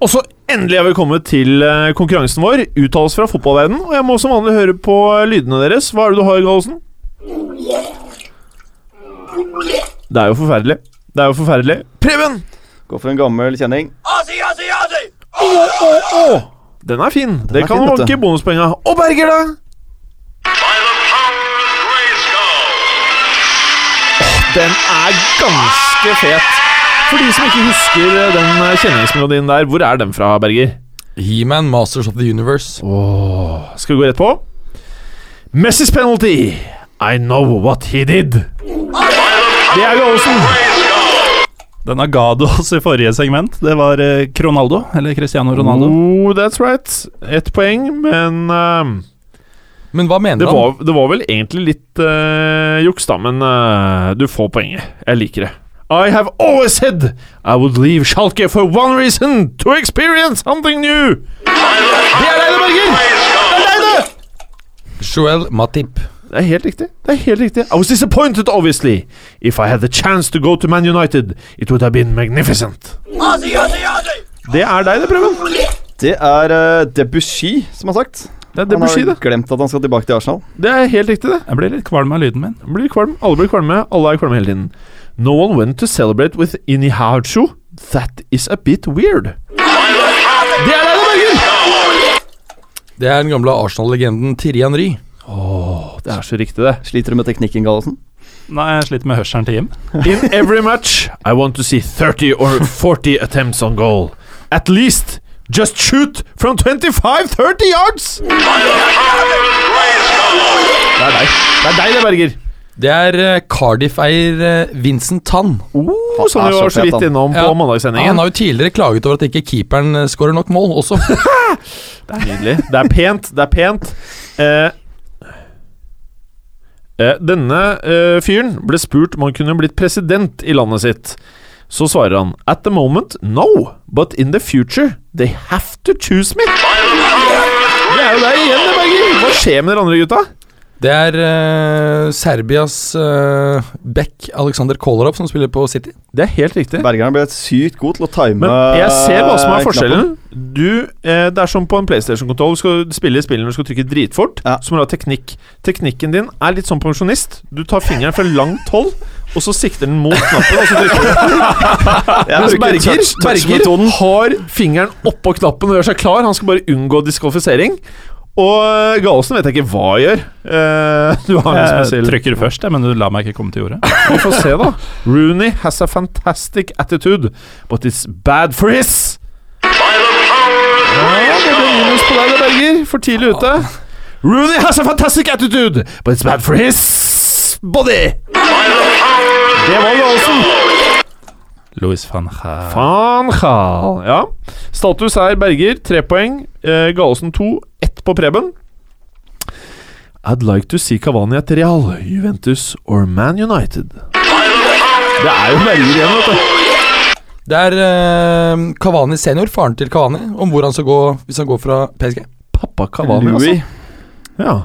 Speaker 3: Og så endelig er vi kommet til eh, konkurransen vår. Uttales fra fotballverdenen. Og jeg må som vanlig høre på eh, lydene deres. Hva er det du har, Gallosen? Det er jo forferdelig. Det er jo forferdelig. Preben!
Speaker 5: Gå for en gammel kjenning.
Speaker 3: Den er fin. det
Speaker 5: er
Speaker 3: kan
Speaker 5: fin, vet
Speaker 3: vanke
Speaker 5: du.
Speaker 3: bonuspoenga. Og Berger, da? Den er ganske fet. For de som ikke husker eh, den eh, kjenningsmelodien der, hvor er den fra, Berger?
Speaker 6: He-Man, Masters of the Universe.
Speaker 3: Skal vi gå rett på? Messis penalty. I know what he did. Det er Gallosen.
Speaker 4: Den Agado oss i forrige segment. Det var eh, Cronaldo, eller Cristiano Ronaldo.
Speaker 5: Mm.
Speaker 3: Oh, that's right. Ett poeng, men eh,
Speaker 6: Men hva mener
Speaker 3: det,
Speaker 6: han?
Speaker 3: var, det var vel egentlig litt eh, juks, da, men eh, du får poenget. Jeg liker det. I have always said I would leave Schalke for one reason to experience something new. Det er deg, det, Berger!
Speaker 6: Joel Matip.
Speaker 3: Det er helt riktig. det er helt riktig I was disappointed, obviously. If I had the chance to go to Man United, it would have been magnificent. Det er deg, det, Preben.
Speaker 5: Det er eh, Debussy som har sagt.
Speaker 3: Det er Debussy,
Speaker 5: han
Speaker 3: det.
Speaker 5: har glemt at han skal tilbake til Arsenal.
Speaker 3: Det er helt riktig, det.
Speaker 4: Jeg blir litt kvalm av lyden min.
Speaker 3: Blir kvalm. Alle blir kvalme. Alle er kvalme hele tiden. No one went to celebrate with Inihachu. That is a bit weird. Det er deg, da, Berger!
Speaker 6: Det er den gamle Arsenal-legenden Thierry Henry.
Speaker 3: Det er så riktig, det.
Speaker 5: Sliter du med teknikken, Gallosen?
Speaker 4: Nei, jeg sliter med hørselen til Jim.
Speaker 3: In every match, I want to see 30 or 40 attempts on goal. At least just shoot from 25-30 yards! Det er deg, det, er deg, det Berger.
Speaker 6: Det er eh, Cardiff-eier eh, Vincent Tann.
Speaker 3: Oh,
Speaker 5: Han
Speaker 3: som
Speaker 5: er
Speaker 3: vi
Speaker 5: så
Speaker 3: var så
Speaker 5: fet,
Speaker 3: vidt
Speaker 5: han.
Speaker 3: innom på
Speaker 6: Ja. Han
Speaker 3: mandagssendingen.
Speaker 6: har jo tidligere klaget over at ikke keeperen eh, skårer nok mål også.
Speaker 3: Det er nydelig. Det er pent, det er pent. Eh, eh, denne eh, fyren ble spurt om han kunne blitt president i landet sitt. Så svarer han At the moment, no. But in the future, they have to choose me. Det er jo deg igjen, det, Berger. Hva skjer med dere andre gutta?
Speaker 6: Det er eh, Serbias eh, back Aleksander Kolarov som spiller på City.
Speaker 3: Det er helt riktig.
Speaker 5: Bergeren ble sykt god til å time eh,
Speaker 3: Men jeg ser hva som er
Speaker 5: knappen.
Speaker 3: forskjellen. Du, eh, Det er som på en PlayStation-kontroll. Du skal spille spillet når du skal trykke dritfort.
Speaker 5: Ja.
Speaker 3: Så må du ha teknikk. Teknikken din er litt som pensjonist. Du tar fingeren fra langt hold, og så sikter den mot knappen, og så trykker du. Mens
Speaker 5: <laughs> Jeg bruker
Speaker 3: Berger,
Speaker 5: touch-
Speaker 3: Berger
Speaker 5: touch-metoden.
Speaker 3: har fingeren oppå knappen og gjør seg klar. Han skal bare unngå diskvalifisering. Og Galesen vet jeg ikke hva jeg gjør. Eh, <laughs> du har en
Speaker 4: Jeg
Speaker 3: spesiell
Speaker 4: trykker først, jeg, men du lar meg ikke komme til jordet.
Speaker 3: Vi får se, da. Rooney has a fantastic attitude, but it's bad for his Ja, det ble minus på deg, det, Berger. For tidlig ute. Rooney has a fantastic attitude, but it's bad for his body. Det var Galsen.
Speaker 4: Louis van Gaal.
Speaker 3: Van Gaal. Ja. Status er Berger, tre poeng. Eh, Galesen to, ett på Preben. I'd like to see Cavani at Real, Juventus or Man United. Det er jo Berger igjen, vet du.
Speaker 6: Det er eh, Cavani senior, faren til Cavani, om hvor han skal gå hvis han går fra PSG.
Speaker 3: Pappa Cavani,
Speaker 5: Louis.
Speaker 3: altså. Ja.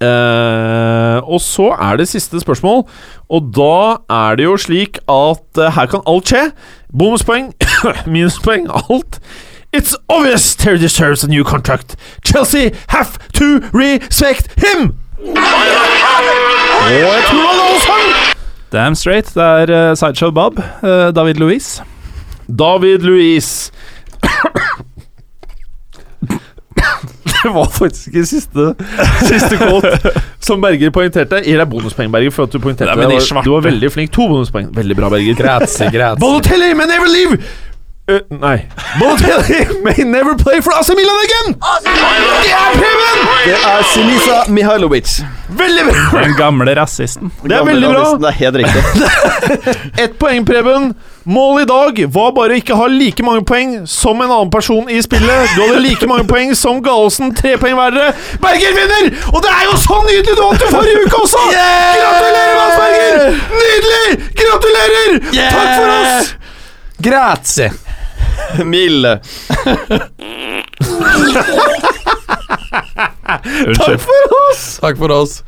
Speaker 3: Eh, og så er det siste spørsmål, og da er det jo slik at eh, her kan alt skje. Bonuspoeng, <coughs> minuspoeng, alt. It's obvious Terry deserves a new contract. Chelsea have to respect him! Og jeg tror han også sang!
Speaker 4: Damn straight. Det er eh, Sideshow Bob. eh, David Louise.
Speaker 3: David Louise. Det var faktisk ikke siste, siste quote som Berger poengterte. Gir deg bonuspoeng, Berger, for at du poengterte
Speaker 4: Nei, men i
Speaker 3: Du var- Du var veldig flink. To bonuspoeng. Veldig bra, Berger.
Speaker 6: Grazie, grazie.
Speaker 3: Balotelli may never leave! Eh, nei. Balotelli may never play for AC Milan again! Det er Preben!
Speaker 5: Det er Sinisa Mihailovic.
Speaker 3: Veldig bra!
Speaker 4: Den gamle rasisten.
Speaker 3: Det er veldig bra.
Speaker 5: Det er helt
Speaker 3: <laughs>
Speaker 5: riktig.
Speaker 3: Ett poeng, Preben. Målet i dag var bare å ikke ha like mange poeng som en annen person i spillet. Du hadde like mange poeng som Galesen. Tre poeng hver. Berger vinner! Og det er jo så nydelig du vant jo forrige uke også! Gratulerer, Mads Berger! Nydelig! Gratulerer! Takk for oss!
Speaker 6: Grazie.
Speaker 5: Mille.
Speaker 4: Unnskyld.
Speaker 6: Takk for oss.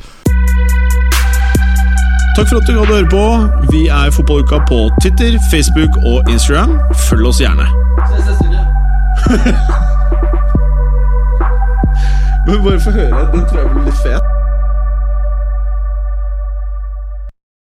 Speaker 1: Takk for at du hadde høre på. Vi er Fotballuka på Twitter, Facebook og Instagram. Følg oss gjerne. Men bare få høre. Den tror jeg blir litt fet.